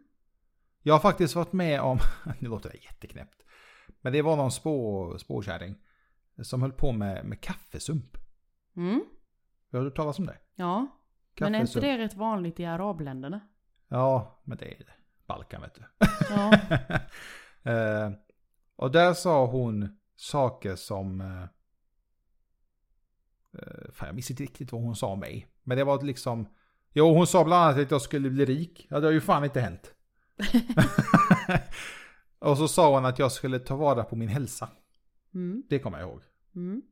[SPEAKER 1] Jag har faktiskt varit med om, nu låter det jätteknäppt. Men det var någon spå, spåkärring som höll på med, med kaffesump.
[SPEAKER 2] Mm.
[SPEAKER 1] Har du hört talas om det?
[SPEAKER 2] Ja. Men är inte
[SPEAKER 1] Kaffesump.
[SPEAKER 2] det rätt vanligt i arabländerna?
[SPEAKER 1] Ja, men det är det. Balkan vet du.
[SPEAKER 2] Ja.
[SPEAKER 1] Eh, och där sa hon saker som... Eh, eh, fan, jag minns inte riktigt vad hon sa om mig. Men det var liksom... Jo, hon sa bland annat att jag skulle bli rik. Ja, det har ju fan inte hänt. och så sa hon att jag skulle ta vara på min hälsa.
[SPEAKER 2] Mm,
[SPEAKER 1] Det kommer jag ihåg.
[SPEAKER 2] mm.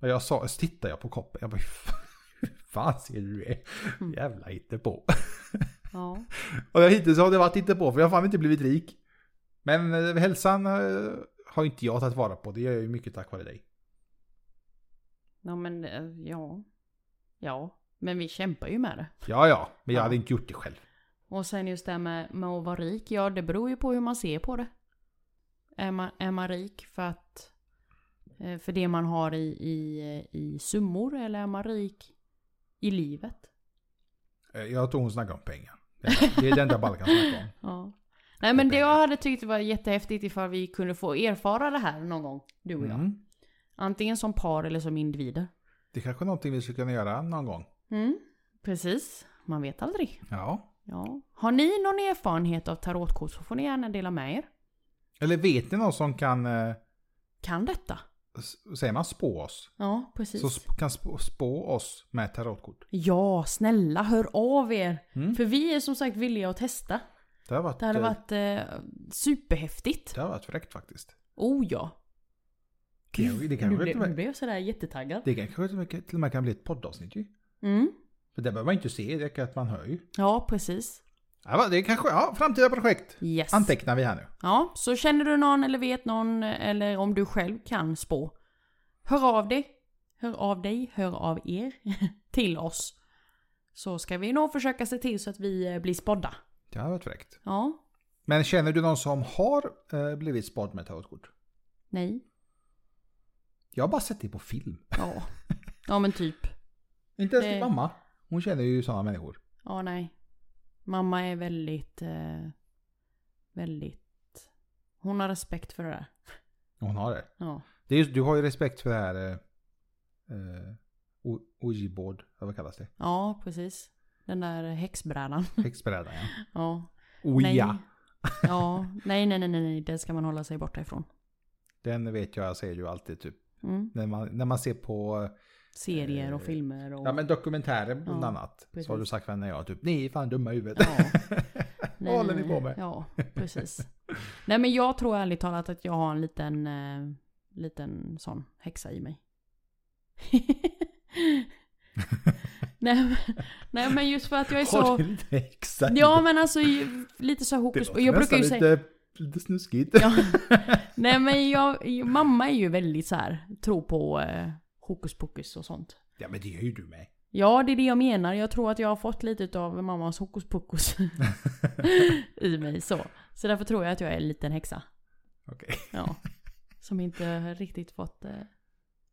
[SPEAKER 1] Och jag sa, så tittade jag på koppen. Jag bara, hur fan- hur fan ser du det? Jävla hittepå.
[SPEAKER 2] Ja.
[SPEAKER 1] Och jag hittills har det varit inte på för jag har fan inte blivit rik. Men eh, hälsan eh, har inte jag tagit vara på. Det gör jag ju mycket tack vare dig.
[SPEAKER 2] ja, men eh, ja. Ja, men vi kämpar ju med det.
[SPEAKER 1] Ja, ja. Men jag
[SPEAKER 2] Ja.
[SPEAKER 1] hade inte gjort det själv.
[SPEAKER 2] Och sen just det här med, med att vara rik, ja det beror ju på hur man ser på det. Är man, är man rik för att eh, för det man har i, i, eh, i summor eller är man rik i livet?
[SPEAKER 1] Eh, Jag tror hon snackar om pengar. Det är- Det är den där Balkan snackar om.
[SPEAKER 2] Ja. Nej men det jag hade tyckt var jättehäftigt ifall vi kunde få erfara det här någon gång, du och jag.
[SPEAKER 1] Mm.
[SPEAKER 2] Antingen som par eller som individer.
[SPEAKER 1] Det är kanske är någonting vi skulle kunna göra någon gång.
[SPEAKER 2] Mm, precis. Man vet aldrig.
[SPEAKER 1] Ja.
[SPEAKER 2] Ja. Har ni någon erfarenhet av tarotkort så får ni gärna dela med er.
[SPEAKER 1] Eller vet ni någon som kan, eh,
[SPEAKER 2] Kan detta?
[SPEAKER 1] s- säger man spå oss?
[SPEAKER 2] Ja, precis.
[SPEAKER 1] Så sp- kan spå, spå oss med tarotkort.
[SPEAKER 2] Ja, snälla hör av er.
[SPEAKER 1] Mm.
[SPEAKER 2] För vi är som sagt villiga att testa.
[SPEAKER 1] Det har varit,
[SPEAKER 2] Det hade
[SPEAKER 1] eh,
[SPEAKER 2] varit eh, superhäftigt.
[SPEAKER 1] det har varit fräckt faktiskt.
[SPEAKER 2] Oh ja.
[SPEAKER 1] Det, det,
[SPEAKER 2] Nu
[SPEAKER 1] kanske,
[SPEAKER 2] blev,
[SPEAKER 1] till
[SPEAKER 2] nu
[SPEAKER 1] och med-
[SPEAKER 2] blev jag sådär jättetaggad.
[SPEAKER 1] det kanske till och med- till och med kan bli ett poddavsnitt ju.
[SPEAKER 2] Mm.
[SPEAKER 1] För det behöver man inte se, det räcker att man hör ju.
[SPEAKER 2] Ja, precis.
[SPEAKER 1] Ja, va, det kanske, ja, framtida projekt.
[SPEAKER 2] Yes.
[SPEAKER 1] Antecknar vi här nu.
[SPEAKER 2] Ja, så känner du någon eller vet någon eller om du själv kan spå. Hör av dig. Hör av dig, hör av er till oss. Så ska vi nog försöka se till så att vi eh, blir spådda.
[SPEAKER 1] Det har varit fräckt.
[SPEAKER 2] Ja,
[SPEAKER 1] Men känner du någon som har eh, blivit spad med tarotkort?
[SPEAKER 2] nej,
[SPEAKER 1] Jag har bara sett det på film.
[SPEAKER 2] ja. Ja men typ.
[SPEAKER 1] Inte ens
[SPEAKER 2] Det-
[SPEAKER 1] din mamma. Hon känner ju sådana människor.
[SPEAKER 2] Ja, nej. Mamma är väldigt, eh, väldigt... Hon har respekt för det där.
[SPEAKER 1] Hon har det.
[SPEAKER 2] Ja.
[SPEAKER 1] det är just, du har ju respekt för det här... Eh, eh, o- Ouija-board, eller vad kallas det?
[SPEAKER 2] Ja, precis. Den där häxbrädan.
[SPEAKER 1] Häxbrädan ja.
[SPEAKER 2] Ja.
[SPEAKER 1] Ouija.
[SPEAKER 2] Nej. Ja. Nej, nej, nej, nej, nej. Den ska man hålla sig borta ifrån.
[SPEAKER 1] Den vet jag, jag säger ju alltid typ.
[SPEAKER 2] Mm.
[SPEAKER 1] När man, när man ser på eh,
[SPEAKER 2] Serier och
[SPEAKER 1] Eh,
[SPEAKER 2] filmer och...
[SPEAKER 1] ja, men dokumentärer bland
[SPEAKER 2] Ja,
[SPEAKER 1] annat.
[SPEAKER 2] precis.
[SPEAKER 1] Så har du sagt när jag typ, ni är fan dumma i huvudet.
[SPEAKER 2] Ja.
[SPEAKER 1] Vad håller ni på med?
[SPEAKER 2] Ja, precis. Nej men jag tror ärligt talat att jag har en liten, eh, liten sån häxa i mig. nej, men, nej men just för att jag är
[SPEAKER 1] Har
[SPEAKER 2] så...
[SPEAKER 1] du lite häxa i
[SPEAKER 2] Ja men alltså ju- lite så hokus
[SPEAKER 1] låter
[SPEAKER 2] Jag brukar ju
[SPEAKER 1] nästan
[SPEAKER 2] säga...
[SPEAKER 1] Lite, lite snuskigt.
[SPEAKER 2] Ja. Nej men jag, mamma är ju väldigt så här, tror på eh, hokus pokus och sånt.
[SPEAKER 1] Ja men det gör ju du med.
[SPEAKER 2] Ja, det är det jag menar. Jag tror att jag har fått lite av mammas hokus pokus i mig. Så. så därför tror jag att jag är en liten häxa.
[SPEAKER 1] Okej.
[SPEAKER 2] Ja. Som inte riktigt fått eh,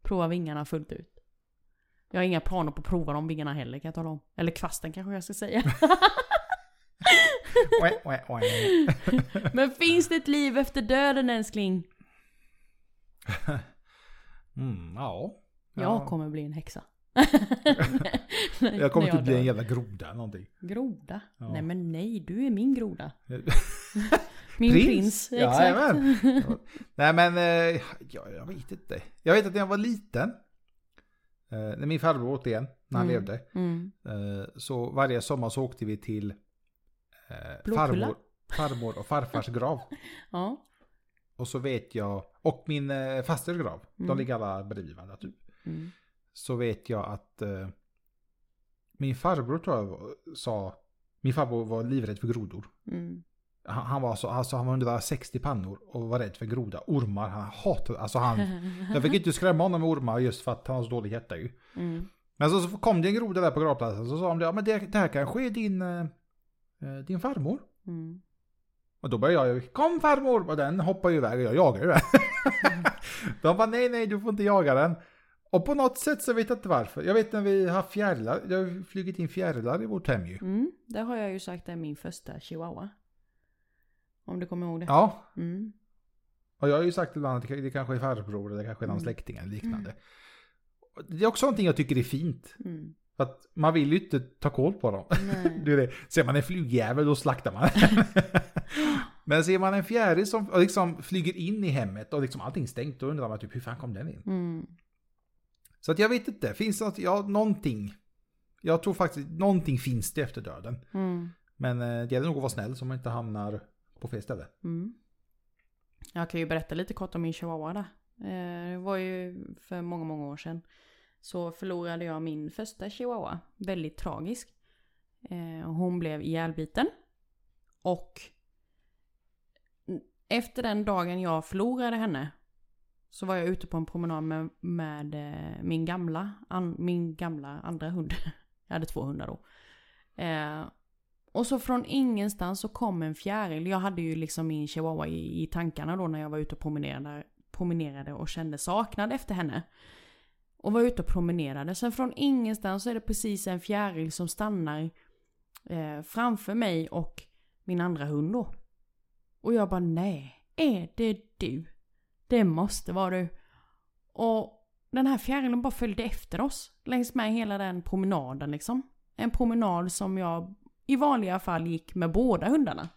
[SPEAKER 2] prova vingarna fullt ut. Jag har inga planer på att prova de vingarna heller kan jag tala om. Eller kvasten kanske jag ska säga.
[SPEAKER 1] Oä, oä, oä.
[SPEAKER 2] Men finns det ett liv efter döden älskling?
[SPEAKER 1] Mm, ja.
[SPEAKER 2] Jag kommer bli en häxa.
[SPEAKER 1] jag kommer
[SPEAKER 2] När
[SPEAKER 1] typ bli en
[SPEAKER 2] dör.
[SPEAKER 1] jävla groda eller någonting.
[SPEAKER 2] Groda?
[SPEAKER 1] Ja.
[SPEAKER 2] Nej men nej, du är min groda.
[SPEAKER 1] Min
[SPEAKER 2] Min prins. exakt.
[SPEAKER 1] Jajamän. Nej men, eh, ja, jag vet inte. Jag vet att när jag var liten, eh, när min farbror återigen, när han
[SPEAKER 2] Mm.
[SPEAKER 1] levde,
[SPEAKER 2] Mm.
[SPEAKER 1] eh, så varje sommar så åkte vi till eh,
[SPEAKER 2] Blåkulla?
[SPEAKER 1] farmor, farmor och farfars grav.
[SPEAKER 2] Ja.
[SPEAKER 1] Och så vet jag, och min eh, fasters grav,
[SPEAKER 2] Mm.
[SPEAKER 1] de ligger alla bredvid varandra typ.
[SPEAKER 2] Mm.
[SPEAKER 1] så vet jag att eh, min farbror tror jag var- sa, min farbror var livrädd för grodor.
[SPEAKER 2] Mm.
[SPEAKER 1] Han, han var så, alltså han var 160 pannor och var rädd för groda. Ormar, han hatade, alltså han, jag fick inte skrämma honom med ormar just för att han har så dåligt hjärta ju.
[SPEAKER 2] Mm.
[SPEAKER 1] Men så, så kom det en groda där på gravplatsen så sa de ja men det, det här kanske är din, eh, eh, din farmor.
[SPEAKER 2] Mm.
[SPEAKER 1] Och då började jag ju, kom farmor! Och den hoppar ju iväg och jag jagar ju den. De bara, nej nej du får inte jaga den. Och på något sätt så vet jag inte varför. Jag vet när vi har fjärilar, jag har ju flugit in fjärilar i vårt hem ju.
[SPEAKER 2] Mm. Det har jag ju sagt är min första chihuahua. Om du kommer ihåg det.
[SPEAKER 1] Ja,
[SPEAKER 2] Mm.
[SPEAKER 1] och jag har ju sagt ibland att det det kanske är farbror eller det kanske är någon
[SPEAKER 2] Mm.
[SPEAKER 1] släkting eller liknande. Det är också någonting jag tycker är fint.
[SPEAKER 2] Mm.
[SPEAKER 1] För att man vill ju inte ta koll på dem.
[SPEAKER 2] Nej.
[SPEAKER 1] Det är det. Ser man en flygjävel då slaktar man den. Men ser man en fjäril som och liksom flyger in i hemmet och liksom allting är stängt då undrar man typ hur fan kom den in?
[SPEAKER 2] Mm.
[SPEAKER 1] Så att jag vet inte, finns det något, ja någonting. Jag tror faktiskt någonting finns det efter döden.
[SPEAKER 2] Mm.
[SPEAKER 1] Men eh, det gäller nog att vara snäll så man inte hamnar på fel ställe.
[SPEAKER 2] Mm. Jag kan ju berätta lite kort om min chihuahua där. Eh, Det var ju för många, många år sedan. Så förlorade jag min första chihuahua. Väldigt tragisk. Eh, och Hon blev ihjälbiten. Och efter den dagen jag förlorade henne så var jag ute på en promenad med, med eh, min, gamla, an, min gamla andra hund. Jag hade två hundar då. Eh, och så från ingenstans så kom en fjäril. Jag hade ju liksom min chihuahua i, i tankarna då när jag var ute och promenerade, promenerade och kände saknad efter henne. Och var ute och promenerade. Sen från ingenstans så är det precis en fjäril som stannar eh, framför mig och min andra hund då. Och jag bara nej, är det du? Det måste vara du. Och den här fjärilen bara följde efter oss längs med hela den promenaden liksom. En promenad som jag i vanliga fall gick med båda hundarna.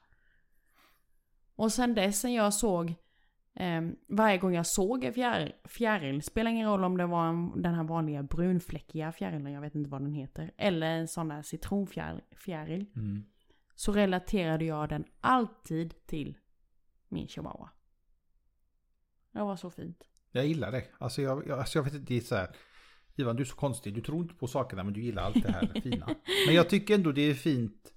[SPEAKER 2] Och sen dess sen jag såg eh, varje gång jag såg en fjäril, fjäril, spelar ingen roll om det var en, den här vanliga brunfläckiga fjärilen, jag vet inte vad den heter, eller en sån där citronfjäril, så relaterade jag den alltid till min chihuahua. Det var så fint.
[SPEAKER 1] Jag gillar det. Alltså jag, jag, alltså jag vet inte, det är så här. Ivan, du är så konstig. Du tror inte på sakerna men du gillar allt det här fina. Men jag tycker ändå det är fint.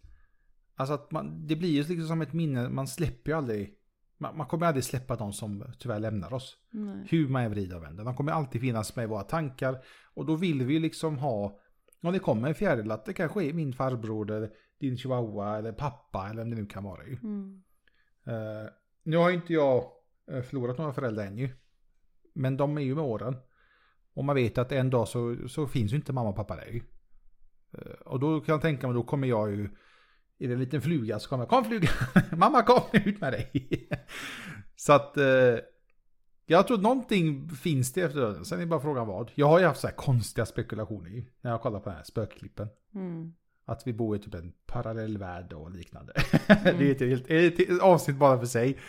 [SPEAKER 1] Alltså att man, det blir ju liksom som ett minne. Man släpper ju aldrig. Man, man kommer aldrig släppa de som tyvärr lämnar oss.
[SPEAKER 2] Nej.
[SPEAKER 1] Hur man än vrider och vänder. De kommer alltid finnas med i våra tankar. Och då vill vi ju liksom ha. Om det kommer en fjäril att det kanske är min farbror eller din chihuahua eller pappa eller vem det nu kan vara ju.
[SPEAKER 2] Mm.
[SPEAKER 1] Eh, nu har ju inte jag eh, förlorat några föräldrar än ju. Men de är ju med åren. Och man vet att en dag så, så finns ju inte mamma och pappa där ju. Eh, och då kan jag tänka mig, då kommer jag ju... Är det en liten fluga så kommer jag, kom fluga! mamma kom ut med dig! så att... Eh, jag tror någonting finns det efter döden. Sen är det bara frågan vad. Jag har ju haft så här konstiga spekulationer ju. När jag kollar på den här spökklippen.
[SPEAKER 2] Mm.
[SPEAKER 1] Att vi bor i typ en parallell värld och liknande.
[SPEAKER 2] Mm.
[SPEAKER 1] det är ett, helt, ett, ett avsnitt bara för sig.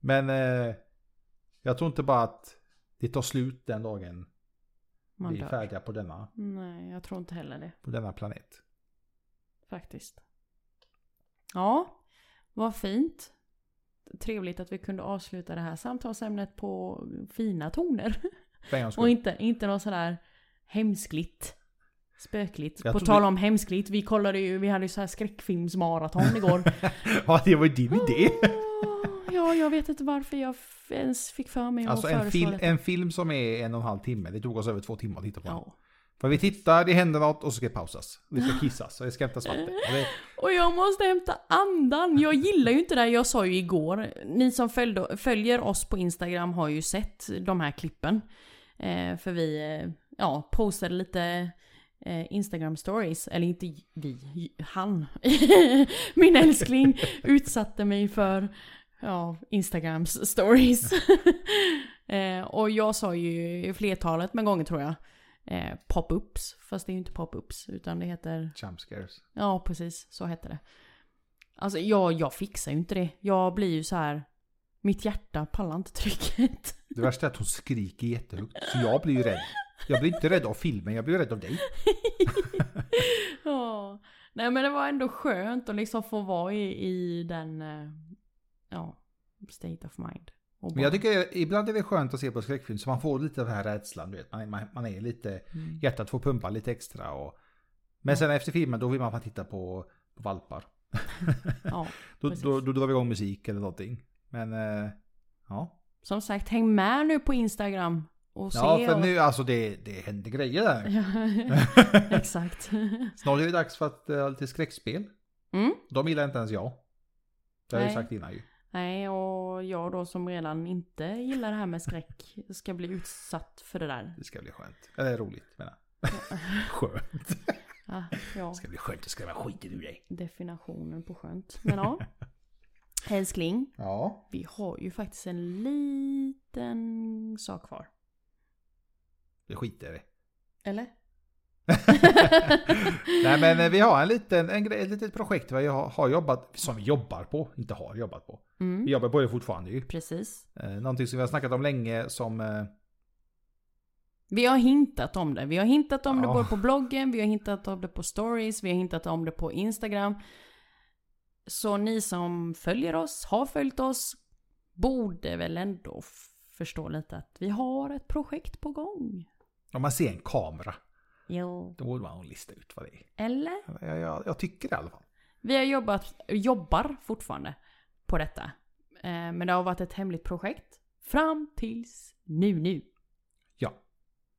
[SPEAKER 1] Men eh, jag tror inte bara att det tar slut den dagen
[SPEAKER 2] Man
[SPEAKER 1] vi är
[SPEAKER 2] dör.
[SPEAKER 1] färdiga på denna,
[SPEAKER 2] Nej, jag tror inte heller det.
[SPEAKER 1] på denna planet.
[SPEAKER 2] Faktiskt. Ja, vad fint. Trevligt att vi kunde avsluta det här samtalsämnet på fina toner.
[SPEAKER 1] För en gångs
[SPEAKER 2] Och
[SPEAKER 1] skull.
[SPEAKER 2] inte, inte något sådär hemskligt. Spökligt.
[SPEAKER 1] Jag
[SPEAKER 2] på
[SPEAKER 1] tror
[SPEAKER 2] tal
[SPEAKER 1] vi-
[SPEAKER 2] om hemskligt, vi kollade ju, vi hade ju så här skräckfilmsmaraton igår.
[SPEAKER 1] Ja, det var ju din idé.
[SPEAKER 2] Åh, ja, jag vet inte varför jag f- ens fick för mig att
[SPEAKER 1] Alltså en,
[SPEAKER 2] föreslå
[SPEAKER 1] fil,
[SPEAKER 2] detta.
[SPEAKER 1] en film som är en och en halv timme, det tog oss över två timmar att titta på. den.
[SPEAKER 2] Ja.
[SPEAKER 1] För vi tittar, det händer något och så ska det pausas. Det ska kissas och det ska hämtas vatten. Och det-
[SPEAKER 2] Och jag måste hämta andan. Jag gillar ju inte det här. Jag sa ju igår, ni som följde, följer oss på Instagram har ju sett de här klippen. Eh, för vi eh, ja, postade lite eh, Instagram stories. Eller inte vi, han. Min älskling utsatte mig för ja, Instagrams stories. eh, och jag sa ju flertalet med gånger tror jag. Eh, pop-ups, fast det är ju inte pop-ups utan det heter
[SPEAKER 1] Jump scares.
[SPEAKER 2] Ja, precis. Så hette det. Alltså jag, jag fixar ju inte det. Jag blir ju så här. Mitt hjärta pallar inte trycket.
[SPEAKER 1] Det värsta är att hon skriker jättehögt, så jag blir ju rädd. Jag blir inte rädd av filmen, jag blir rädd av dig.
[SPEAKER 2] ja. Nej men det var ändå skönt att liksom få vara i, i den, eh, ja, state of mind. Och
[SPEAKER 1] Men jag
[SPEAKER 2] bara-
[SPEAKER 1] tycker ibland är det skönt att se på skräckfilm så man får lite av den här rädslan. Du vet. Man, är- man, man är lite,
[SPEAKER 2] Mm.
[SPEAKER 1] hjärtat får pumpa lite extra. Och, men sen efter filmen då vill man fan titta på, på valpar.
[SPEAKER 2] ja.
[SPEAKER 1] Då,
[SPEAKER 2] Precis.
[SPEAKER 1] då, då drar vi igång musik eller någonting. Men eh, ja.
[SPEAKER 2] Som sagt, häng med nu på Instagram och se.
[SPEAKER 1] Ja för
[SPEAKER 2] och...
[SPEAKER 1] nu alltså det, det händer grejer där.
[SPEAKER 2] Exakt.
[SPEAKER 1] Snart är det dags för att eh, ha lite skräckspel.
[SPEAKER 2] Mm.
[SPEAKER 1] De gillar inte ens jag. Det har jag ju
[SPEAKER 2] Nej.
[SPEAKER 1] sagt innan ju.
[SPEAKER 2] Nej, och jag då som redan inte gillar det här med skräck ska bli utsatt för det där.
[SPEAKER 1] Det ska bli skönt. Eller roligt menar jag. Skönt.
[SPEAKER 2] Ah, ja.
[SPEAKER 1] Det ska bli skönt att skrämma skiten ur dig.
[SPEAKER 2] definitionen på skönt. Men ja. Älskling,
[SPEAKER 1] Ja.
[SPEAKER 2] vi har ju faktiskt en liten sak kvar.
[SPEAKER 1] Det skiter jag i.
[SPEAKER 2] Eller?
[SPEAKER 1] Nej men eh, vi har en liten, en grej, ett litet projekt vad jag har- har jobbat, som vi jobbar på, inte har jobbat på.
[SPEAKER 2] Mm,
[SPEAKER 1] Vi jobbar på det fortfarande ju.
[SPEAKER 2] precis.
[SPEAKER 1] Eh, någonting som vi har snackat om länge som... Eh,
[SPEAKER 2] Vi har hintat om det. Vi har hintat om det
[SPEAKER 1] Ja.
[SPEAKER 2] både på bloggen, vi har hintat om det på stories, vi har hintat om det på Instagram. Så ni som följer oss, har följt oss, borde väl ändå f- förstå lite att vi har ett projekt på gång.
[SPEAKER 1] om man ser en kamera,
[SPEAKER 2] Jo.
[SPEAKER 1] då borde man lista ut vad det är.
[SPEAKER 2] Eller?
[SPEAKER 1] Jag, jag, jag tycker det i alla fall.
[SPEAKER 2] Vi har jobbat, jobbar fortfarande på detta. Eh, men det har varit ett hemligt projekt. Fram tills nu nu.
[SPEAKER 1] Ja.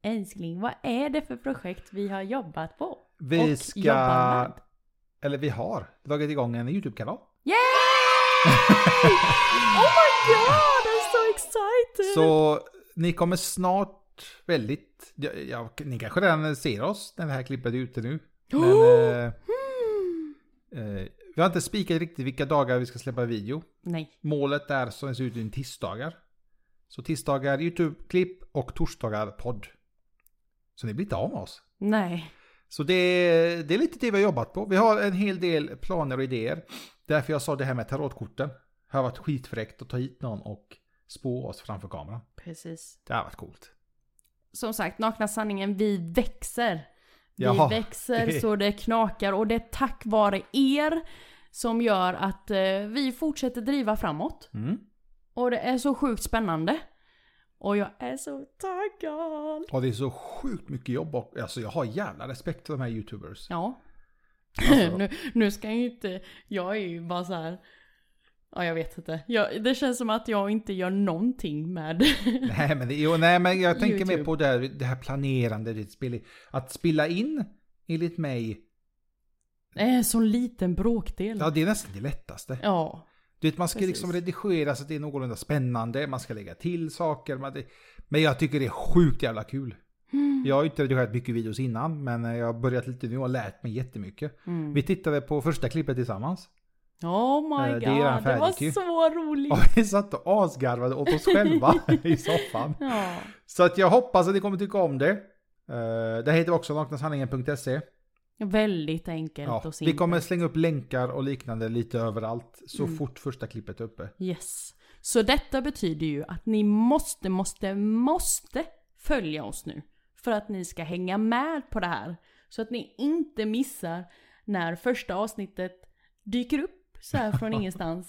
[SPEAKER 2] Älskling, vad är det för projekt vi har jobbat på?
[SPEAKER 1] Vi
[SPEAKER 2] Och jobbar
[SPEAKER 1] ska...
[SPEAKER 2] med. Mm.
[SPEAKER 1] Eller vi har dragit igång en YouTube-kanal.
[SPEAKER 2] Yay! oh my god, I'm so excited!
[SPEAKER 1] Så ni kommer snart väldigt... Ja, ja, ni kanske redan ser oss när det här klippet är ute nu. Men,
[SPEAKER 2] Oh!
[SPEAKER 1] eh, eh, vi har inte spikat riktigt vilka dagar vi ska släppa video.
[SPEAKER 2] Nej,
[SPEAKER 1] Målet är som det ser ut nu tisdagar. Så tisdagar YouTube-klipp och torsdagar podd. Så ni blir inte av med oss.
[SPEAKER 2] nej.
[SPEAKER 1] Så det, det är lite det vi har jobbat på. Vi har en hel del planer och idéer. Därför jag sa det här med tarotkorten. Det har varit skitfräckt att ta hit någon och spå oss framför kameran.
[SPEAKER 2] Precis.
[SPEAKER 1] Det har varit coolt.
[SPEAKER 2] Som sagt, nakna sanningen, vi växer. Vi
[SPEAKER 1] Jaha,
[SPEAKER 2] växer
[SPEAKER 1] det-
[SPEAKER 2] så det knakar och det är tack vare er som gör att eh, vi fortsätter driva framåt.
[SPEAKER 1] Mm.
[SPEAKER 2] Och det är så sjukt spännande. Och jag är så taggad.
[SPEAKER 1] Ja, det är så sjukt mycket jobb och alltså jag har jävla respekt för de här YouTubers.
[SPEAKER 2] Ja.
[SPEAKER 1] Alltså.
[SPEAKER 2] nu, nu ska jag ju inte, jag är ju bara så här. Ja jag vet inte. Jag, det känns som att jag inte gör någonting med
[SPEAKER 1] Nej, men, det, jo, nej, men jag tänker mer
[SPEAKER 2] YouTube.
[SPEAKER 1] på det här, det här planerande. Det spel, att spela in, enligt mig,
[SPEAKER 2] eh, så liten bråkdel.
[SPEAKER 1] ja, det är nästan det lättaste.
[SPEAKER 2] Ja.
[SPEAKER 1] Du vet, man ska
[SPEAKER 2] Mm. Precis.
[SPEAKER 1] liksom redigera så att det är någorlunda spännande, man ska lägga till saker. Man, det, men jag tycker det är sjukt jävla kul.
[SPEAKER 2] Mm.
[SPEAKER 1] Jag har ju inte redigerat mycket videos innan, men jag har börjat lite nu och lärt mig jättemycket.
[SPEAKER 2] Mm.
[SPEAKER 1] Vi tittade på första klippet tillsammans.
[SPEAKER 2] Oh my
[SPEAKER 1] Eh,
[SPEAKER 2] god,
[SPEAKER 1] det är redan
[SPEAKER 2] det var
[SPEAKER 1] färdigt ju.
[SPEAKER 2] så roligt.
[SPEAKER 1] Och vi satt och asgarvade åt oss själva i soffan.
[SPEAKER 2] Ja.
[SPEAKER 1] Så att jag hoppas att ni kommer tycka om det. Eh, det heter också naknasanningen.se.
[SPEAKER 2] Väldigt enkelt
[SPEAKER 1] Ja,
[SPEAKER 2] och
[SPEAKER 1] vi
[SPEAKER 2] simpelt.
[SPEAKER 1] kommer slänga upp länkar och liknande lite överallt så
[SPEAKER 2] Mm.
[SPEAKER 1] fort första klippet är uppe.
[SPEAKER 2] Yes. Så detta betyder ju att ni måste, måste, måste följa oss nu. För att ni ska hänga med på det här. Så att ni inte missar när första avsnittet dyker upp så här från ingenstans.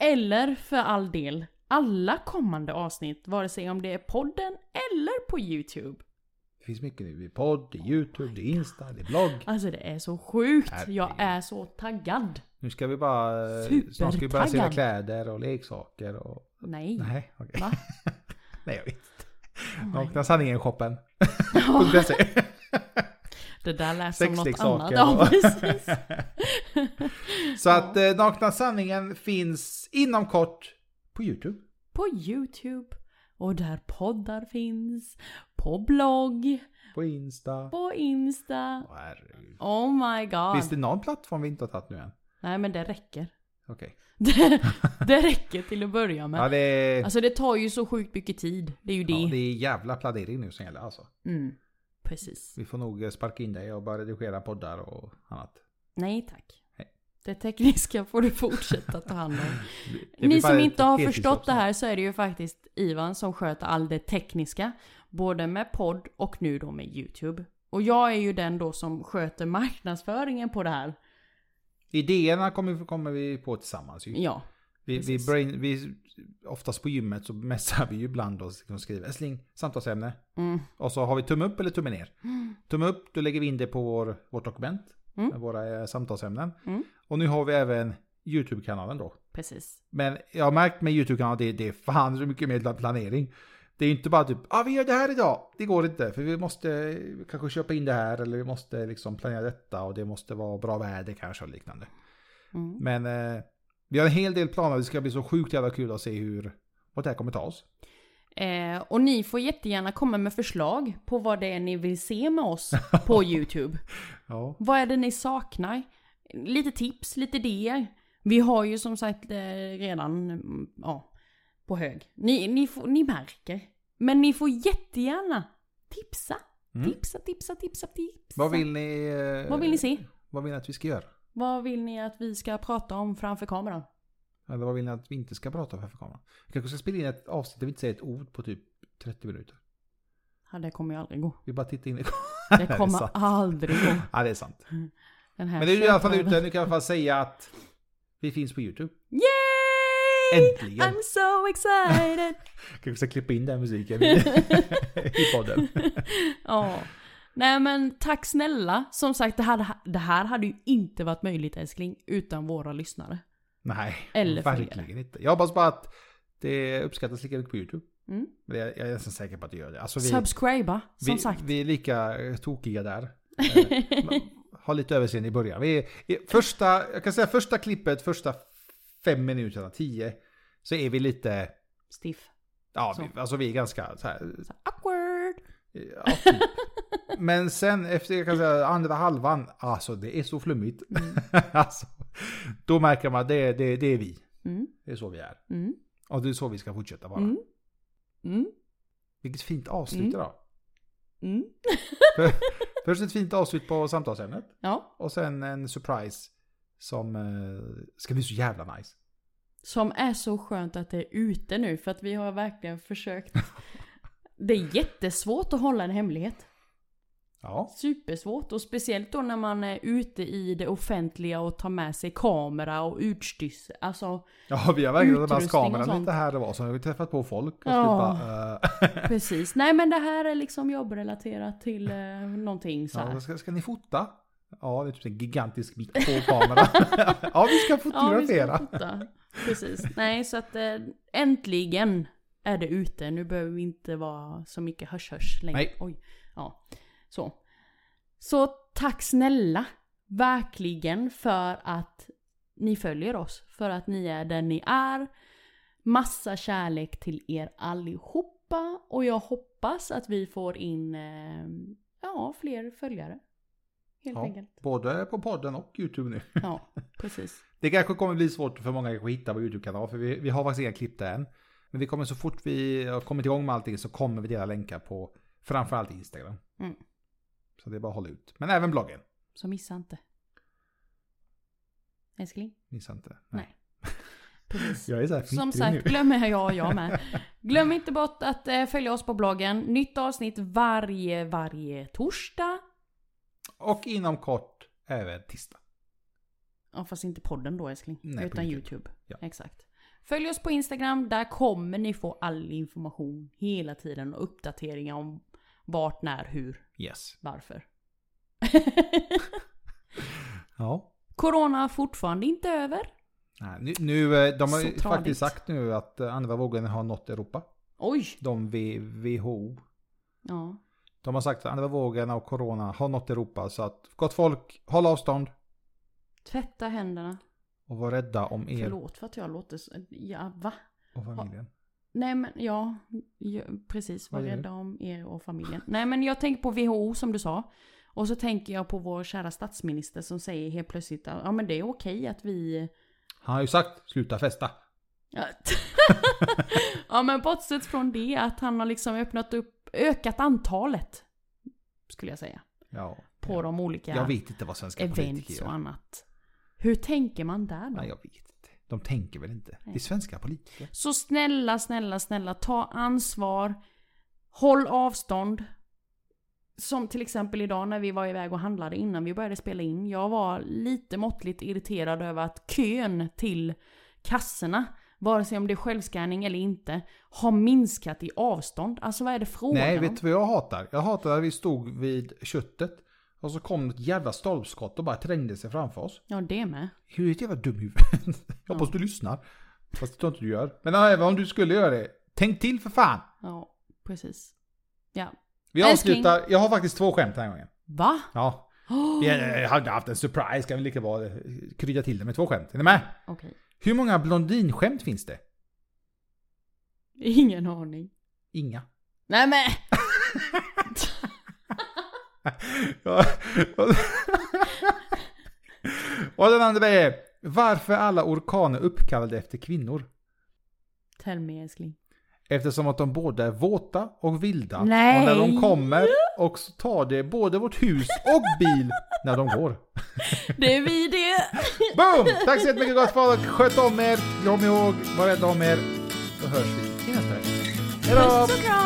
[SPEAKER 2] Eller för all del, alla kommande avsnitt. Vare sig om det är podden eller på YouTube.
[SPEAKER 1] Det finns mycket nu. Det är podd, det är YouTube, det är Insta, det är blogg.
[SPEAKER 2] Alltså det är så sjukt.
[SPEAKER 1] Herregud.
[SPEAKER 2] Jag är så taggad.
[SPEAKER 1] Nu ska vi bara... eh, Snart ska vi börja sälja
[SPEAKER 2] Supertaggad. Mm.
[SPEAKER 1] kläder och leksaker och...
[SPEAKER 2] Nej.
[SPEAKER 1] Nej, okej.
[SPEAKER 2] Va?
[SPEAKER 1] Nej, jag vet
[SPEAKER 2] Oh
[SPEAKER 1] inte. Naknasanningen-shoppen. .se.
[SPEAKER 2] Det där lät som något annat.
[SPEAKER 1] Sexleksaker
[SPEAKER 2] Ja,
[SPEAKER 1] och-
[SPEAKER 2] precis.
[SPEAKER 1] Så att eh, Nakna Sanningen finns inom kort på YouTube.
[SPEAKER 2] på YouTube och där poddar finns, på blogg,
[SPEAKER 1] På Insta.
[SPEAKER 2] på Insta.
[SPEAKER 1] Åh, herregud.
[SPEAKER 2] Oh my god.
[SPEAKER 1] Finns det någon plattform vi inte har tagit nu än?
[SPEAKER 2] Nej men det räcker.
[SPEAKER 1] Okej.
[SPEAKER 2] Det, det räcker till att börja med.
[SPEAKER 1] Ja, det är,
[SPEAKER 2] Alltså det tar ju så sjukt mycket tid. Det är ju det.
[SPEAKER 1] ja, det är jävla planering nu som gäller alltså.
[SPEAKER 2] Mm. Precis.
[SPEAKER 1] Vi får nog eh, sparka in dig och börja redigera poddar och annat.
[SPEAKER 2] Nej tack.
[SPEAKER 1] Nej.
[SPEAKER 2] Det tekniska får du fortsätta ta hand om.
[SPEAKER 1] Det blir
[SPEAKER 2] Ni
[SPEAKER 1] bara
[SPEAKER 2] som
[SPEAKER 1] ett
[SPEAKER 2] inte har
[SPEAKER 1] heltidsjobb
[SPEAKER 2] förstått det
[SPEAKER 1] snart.
[SPEAKER 2] här så är det ju faktiskt Ivan som sköter all det tekniska. Både med podd och nu då med YouTube. Och jag är ju den då som sköter marknadsföringen på det här.
[SPEAKER 1] Idéerna kommer, kommer vi på tillsammans ju.
[SPEAKER 2] Ja,
[SPEAKER 1] Vi, vi,
[SPEAKER 2] precis.
[SPEAKER 1] brain, vi, oftast på gymmet så messar vi ju bland oss och skriver sling, samtalsämne.
[SPEAKER 2] Mm.
[SPEAKER 1] Och så har vi tumme upp eller tumme ner. Tumme upp, då lägger vi in det på vår, vårt dokument.
[SPEAKER 2] Mm.
[SPEAKER 1] Med våra eh, samtalsämnen.
[SPEAKER 2] Mm.
[SPEAKER 1] Och nu har vi även YouTube-kanalen då.
[SPEAKER 2] precis.
[SPEAKER 1] Men jag har märkt med YouTube-kanalen att det, det är fan så mycket mer planering. Det är ju inte bara typ, ah, vi gör det här idag. Det går inte, för vi måste eh, kanske köpa in det här eller vi måste liksom planera detta och det måste vara bra väder kanske och liknande.
[SPEAKER 2] Mm.
[SPEAKER 1] Men eh, vi har en hel del planer, det ska bli så sjukt jävla kul att se hur, vart det här kommer ta oss.
[SPEAKER 2] Eh, och ni får jättegärna komma med förslag på vad det är ni vill se med oss på YouTube.
[SPEAKER 1] Ja.
[SPEAKER 2] Vad är det ni saknar? Lite tips, lite idéer. Vi har ju som sagt eh, redan mm, ja, på hög. Ni, ni, får, ni märker. Men ni får jättegärna tipsa
[SPEAKER 1] Mm.
[SPEAKER 2] Tipsa, tipsa, tipsa, tipsa.
[SPEAKER 1] Vad vill ni... eh,
[SPEAKER 2] Vad vill ni se?
[SPEAKER 1] Vad vill ni att vi ska göra?
[SPEAKER 2] Vad vill ni att vi ska prata om framför kameran?
[SPEAKER 1] Eller vad vill ni att vi inte ska prata om framför kameran? Vi kanske ska spela in ett avsnitt där vi inte säger ett ord på typ 30 minuter.
[SPEAKER 2] Ja, det kommer ju aldrig gå.
[SPEAKER 1] Vi bara tittar in i
[SPEAKER 2] Det
[SPEAKER 1] är
[SPEAKER 2] kommer
[SPEAKER 1] sant.
[SPEAKER 2] aldrig gå.
[SPEAKER 1] Ja, det är sant.
[SPEAKER 2] Den här
[SPEAKER 1] Men det är ju i alla fall
[SPEAKER 2] köttknölen.
[SPEAKER 1] ute. Nu kan jag i alla fall säga att vi finns på YouTube.
[SPEAKER 2] Yay!
[SPEAKER 1] Äntligen!
[SPEAKER 2] I'm so excited!
[SPEAKER 1] Kanske ska klippa in den här musiken i, i podden.
[SPEAKER 2] Ja. Nej men tack snälla. Som sagt, det här, det här hade ju inte varit möjligt älskling utan våra lyssnare.
[SPEAKER 1] Nej,
[SPEAKER 2] Eller
[SPEAKER 1] verkligen inte. Jag hoppas bara att det uppskattas lika mycket på YouTube.
[SPEAKER 2] Mm.
[SPEAKER 1] Men jag, jag är nästan säker på att det gör det. Alltså vi,
[SPEAKER 2] Subscriba, som
[SPEAKER 1] vi,
[SPEAKER 2] sagt.
[SPEAKER 1] vi är lika tokiga där. Eh, men Ha lite överseende i början. Vi är, i första, jag kan säga första klippet, första fem minuterna, tio, så är vi lite,
[SPEAKER 2] Stiff.
[SPEAKER 1] ja,
[SPEAKER 2] Så.
[SPEAKER 1] vi, alltså vi är ganska så här,
[SPEAKER 2] Så awkward!
[SPEAKER 1] Ja, typ. Men sen efter jag kan säga, andra halvan, alltså det är så flummigt. alltså, då märker man att det, det, det är vi.
[SPEAKER 2] Mm,
[SPEAKER 1] Det är så vi är.
[SPEAKER 2] mm,
[SPEAKER 1] Och det är så vi ska fortsätta vara.
[SPEAKER 2] mm, mm,
[SPEAKER 1] Vilket fint avslut
[SPEAKER 2] Mm.
[SPEAKER 1] idag.
[SPEAKER 2] mm.
[SPEAKER 1] Först ett fint avslut på samtalsämnet.
[SPEAKER 2] Ja.
[SPEAKER 1] Och sen en surprise som eh, ska bli så jävla nice.
[SPEAKER 2] Som är så skönt att det är ute nu för att vi har verkligen försökt. Det är jättesvårt att hålla en hemlighet.
[SPEAKER 1] Ja,
[SPEAKER 2] Supersvårt och speciellt då när man är ute i det offentliga och tar med sig kamera och utstyrsel. Alltså
[SPEAKER 1] ja vi har verkligen den här
[SPEAKER 2] Utrustning och
[SPEAKER 1] kameran
[SPEAKER 2] sånt.
[SPEAKER 1] lite här och var. Så har vi träffat på folk. Och
[SPEAKER 2] Ja.
[SPEAKER 1] så bara, eh,
[SPEAKER 2] Precis. Nej men det här är liksom jobbrelaterat till eh, någonting så
[SPEAKER 1] ja,
[SPEAKER 2] här.
[SPEAKER 1] ska, ska ni fota? Ja, det är typ en gigantisk mikrofonkamera. ja, vi ska
[SPEAKER 2] Ja, vi
[SPEAKER 1] fotografera.
[SPEAKER 2] ska fota. Precis. Nej så att eh, äntligen är det ute. Nu behöver vi inte vara så mycket hörs-hörs längre.
[SPEAKER 1] Nej.
[SPEAKER 2] Oj. Ja. Så. Så tack snälla. Verkligen för att ni följer oss. För att ni är den ni är. Massa kärlek till er allihopa. Och jag hoppas att vi får in eh, ja, fler följare. Helt
[SPEAKER 1] Ja,
[SPEAKER 2] enkelt.
[SPEAKER 1] Både på podden och YouTube nu.
[SPEAKER 2] Ja, precis.
[SPEAKER 1] Det kanske kommer bli svårt för många att hitta vår YouTube-kanal, för vi, vi har faktiskt inga klipp där än. Men vi kommer så fort vi har kommit igång med allting så kommer vi dela länkar på framförallt Instagram.
[SPEAKER 2] Mm.
[SPEAKER 1] Så det är bara att hålla ut. Men även bloggen.
[SPEAKER 2] Så missa inte. Älskling?
[SPEAKER 1] Missa inte.
[SPEAKER 2] Nej. Precis.
[SPEAKER 1] Jag är så här
[SPEAKER 2] Som
[SPEAKER 1] fnittrig
[SPEAKER 2] sagt,
[SPEAKER 1] nu.
[SPEAKER 2] glöm jag och jag med. Glöm inte bort att eh, följa oss på bloggen. Nytt avsnitt varje, varje torsdag.
[SPEAKER 1] Och inom kort även tisdag.
[SPEAKER 2] Ja, fast inte podden då älskling.
[SPEAKER 1] Nej, på
[SPEAKER 2] utan
[SPEAKER 1] YouTube.
[SPEAKER 2] YouTube.
[SPEAKER 1] Ja.
[SPEAKER 2] Exakt. Följ oss på Instagram. Där kommer ni få all information hela tiden och uppdateringar om vart, när, hur,
[SPEAKER 1] Yes.
[SPEAKER 2] varför.
[SPEAKER 1] Ja.
[SPEAKER 2] Corona är fortfarande inte över.
[SPEAKER 1] Nej, Nu, nu, eh, de har
[SPEAKER 2] Så
[SPEAKER 1] ju
[SPEAKER 2] tradigt.
[SPEAKER 1] faktiskt sagt nu att eh, andra vågen har nått Europa.
[SPEAKER 2] Oj!
[SPEAKER 1] De V- WHO.
[SPEAKER 2] Ja.
[SPEAKER 1] De har sagt att andra vågen av corona har nått Europa. Så att gott folk, håll avstånd
[SPEAKER 2] Tvätta händerna.
[SPEAKER 1] och var rädda om er
[SPEAKER 2] Förlåt för att jag låter så... Ja, va?
[SPEAKER 1] och familjen.
[SPEAKER 2] Nej men ja, ja precis. Var
[SPEAKER 1] Vad är det?
[SPEAKER 2] rädda om er och familjen. Nej men jag tänker på WHO som du sa. Och så tänker jag på vår kära statsminister som säger helt plötsligt att ja, men det är okej att vi...
[SPEAKER 1] Han har ju sagt sluta festa.
[SPEAKER 2] Ja. ja men bortsett från det att han har liksom öppnat upp, ökat antalet. Skulle jag säga.
[SPEAKER 1] Ja.
[SPEAKER 2] På
[SPEAKER 1] ja.
[SPEAKER 2] de olika
[SPEAKER 1] Jag vet inte vad svenska politiker
[SPEAKER 2] events och
[SPEAKER 1] gör.
[SPEAKER 2] annat. Hur tänker man där då?
[SPEAKER 1] Nej, jag vet inte. De tänker väl inte. Det är svenska politiker.
[SPEAKER 2] Så snälla, snälla, snälla ta ansvar. Håll avstånd. Som till exempel idag när vi var iväg och handlade innan vi började spela in. Jag var lite måttligt irriterad över att kön till kassorna, vare sig om det är självscanning eller inte, har minskat i avstånd. Alltså vad är det frågan
[SPEAKER 1] Nej,
[SPEAKER 2] om?
[SPEAKER 1] vet du vad jag hatar? Jag hatar när vi stod vid köttet. Och så kom ett jävla stolpskott och bara trängde sig framför oss.
[SPEAKER 2] Ja, det med.
[SPEAKER 1] Hur är ett jävla dumhuvud? Jag hoppas du lyssnar. Fast det tror jag inte du gör. Men ja, även om du skulle göra det. Tänk till för fan!
[SPEAKER 2] Ja, precis. Ja.
[SPEAKER 1] Vi
[SPEAKER 2] Älskling.
[SPEAKER 1] avslutar. Jag har faktiskt två skämt den här gången.
[SPEAKER 2] Va?
[SPEAKER 1] Ja. Vi eh, hade haft en surprise. Kan vi lika bra eh, krydda till det med två skämt. Är ni med?
[SPEAKER 2] Okej.
[SPEAKER 1] Hur många blondinskämt finns det?
[SPEAKER 2] Ingen aning.
[SPEAKER 1] Inga.
[SPEAKER 2] Nej men!
[SPEAKER 1] Ja. Och den andra är varför alla orkaner uppkallade efter kvinnor?
[SPEAKER 2] Tell me älskling.
[SPEAKER 1] Eftersom att de båda är våta och vilda. Och
[SPEAKER 2] Nej.
[SPEAKER 1] när de kommer och så tar det både vårt hus och bil när de går.
[SPEAKER 2] Det är vi det!
[SPEAKER 1] Boom! Tack så jättemycket gott folk. Sköt om er. Kom ihåg, var rädda om er. Så hörs vi i nästa vecka. Hej då!
[SPEAKER 2] Puss och kram!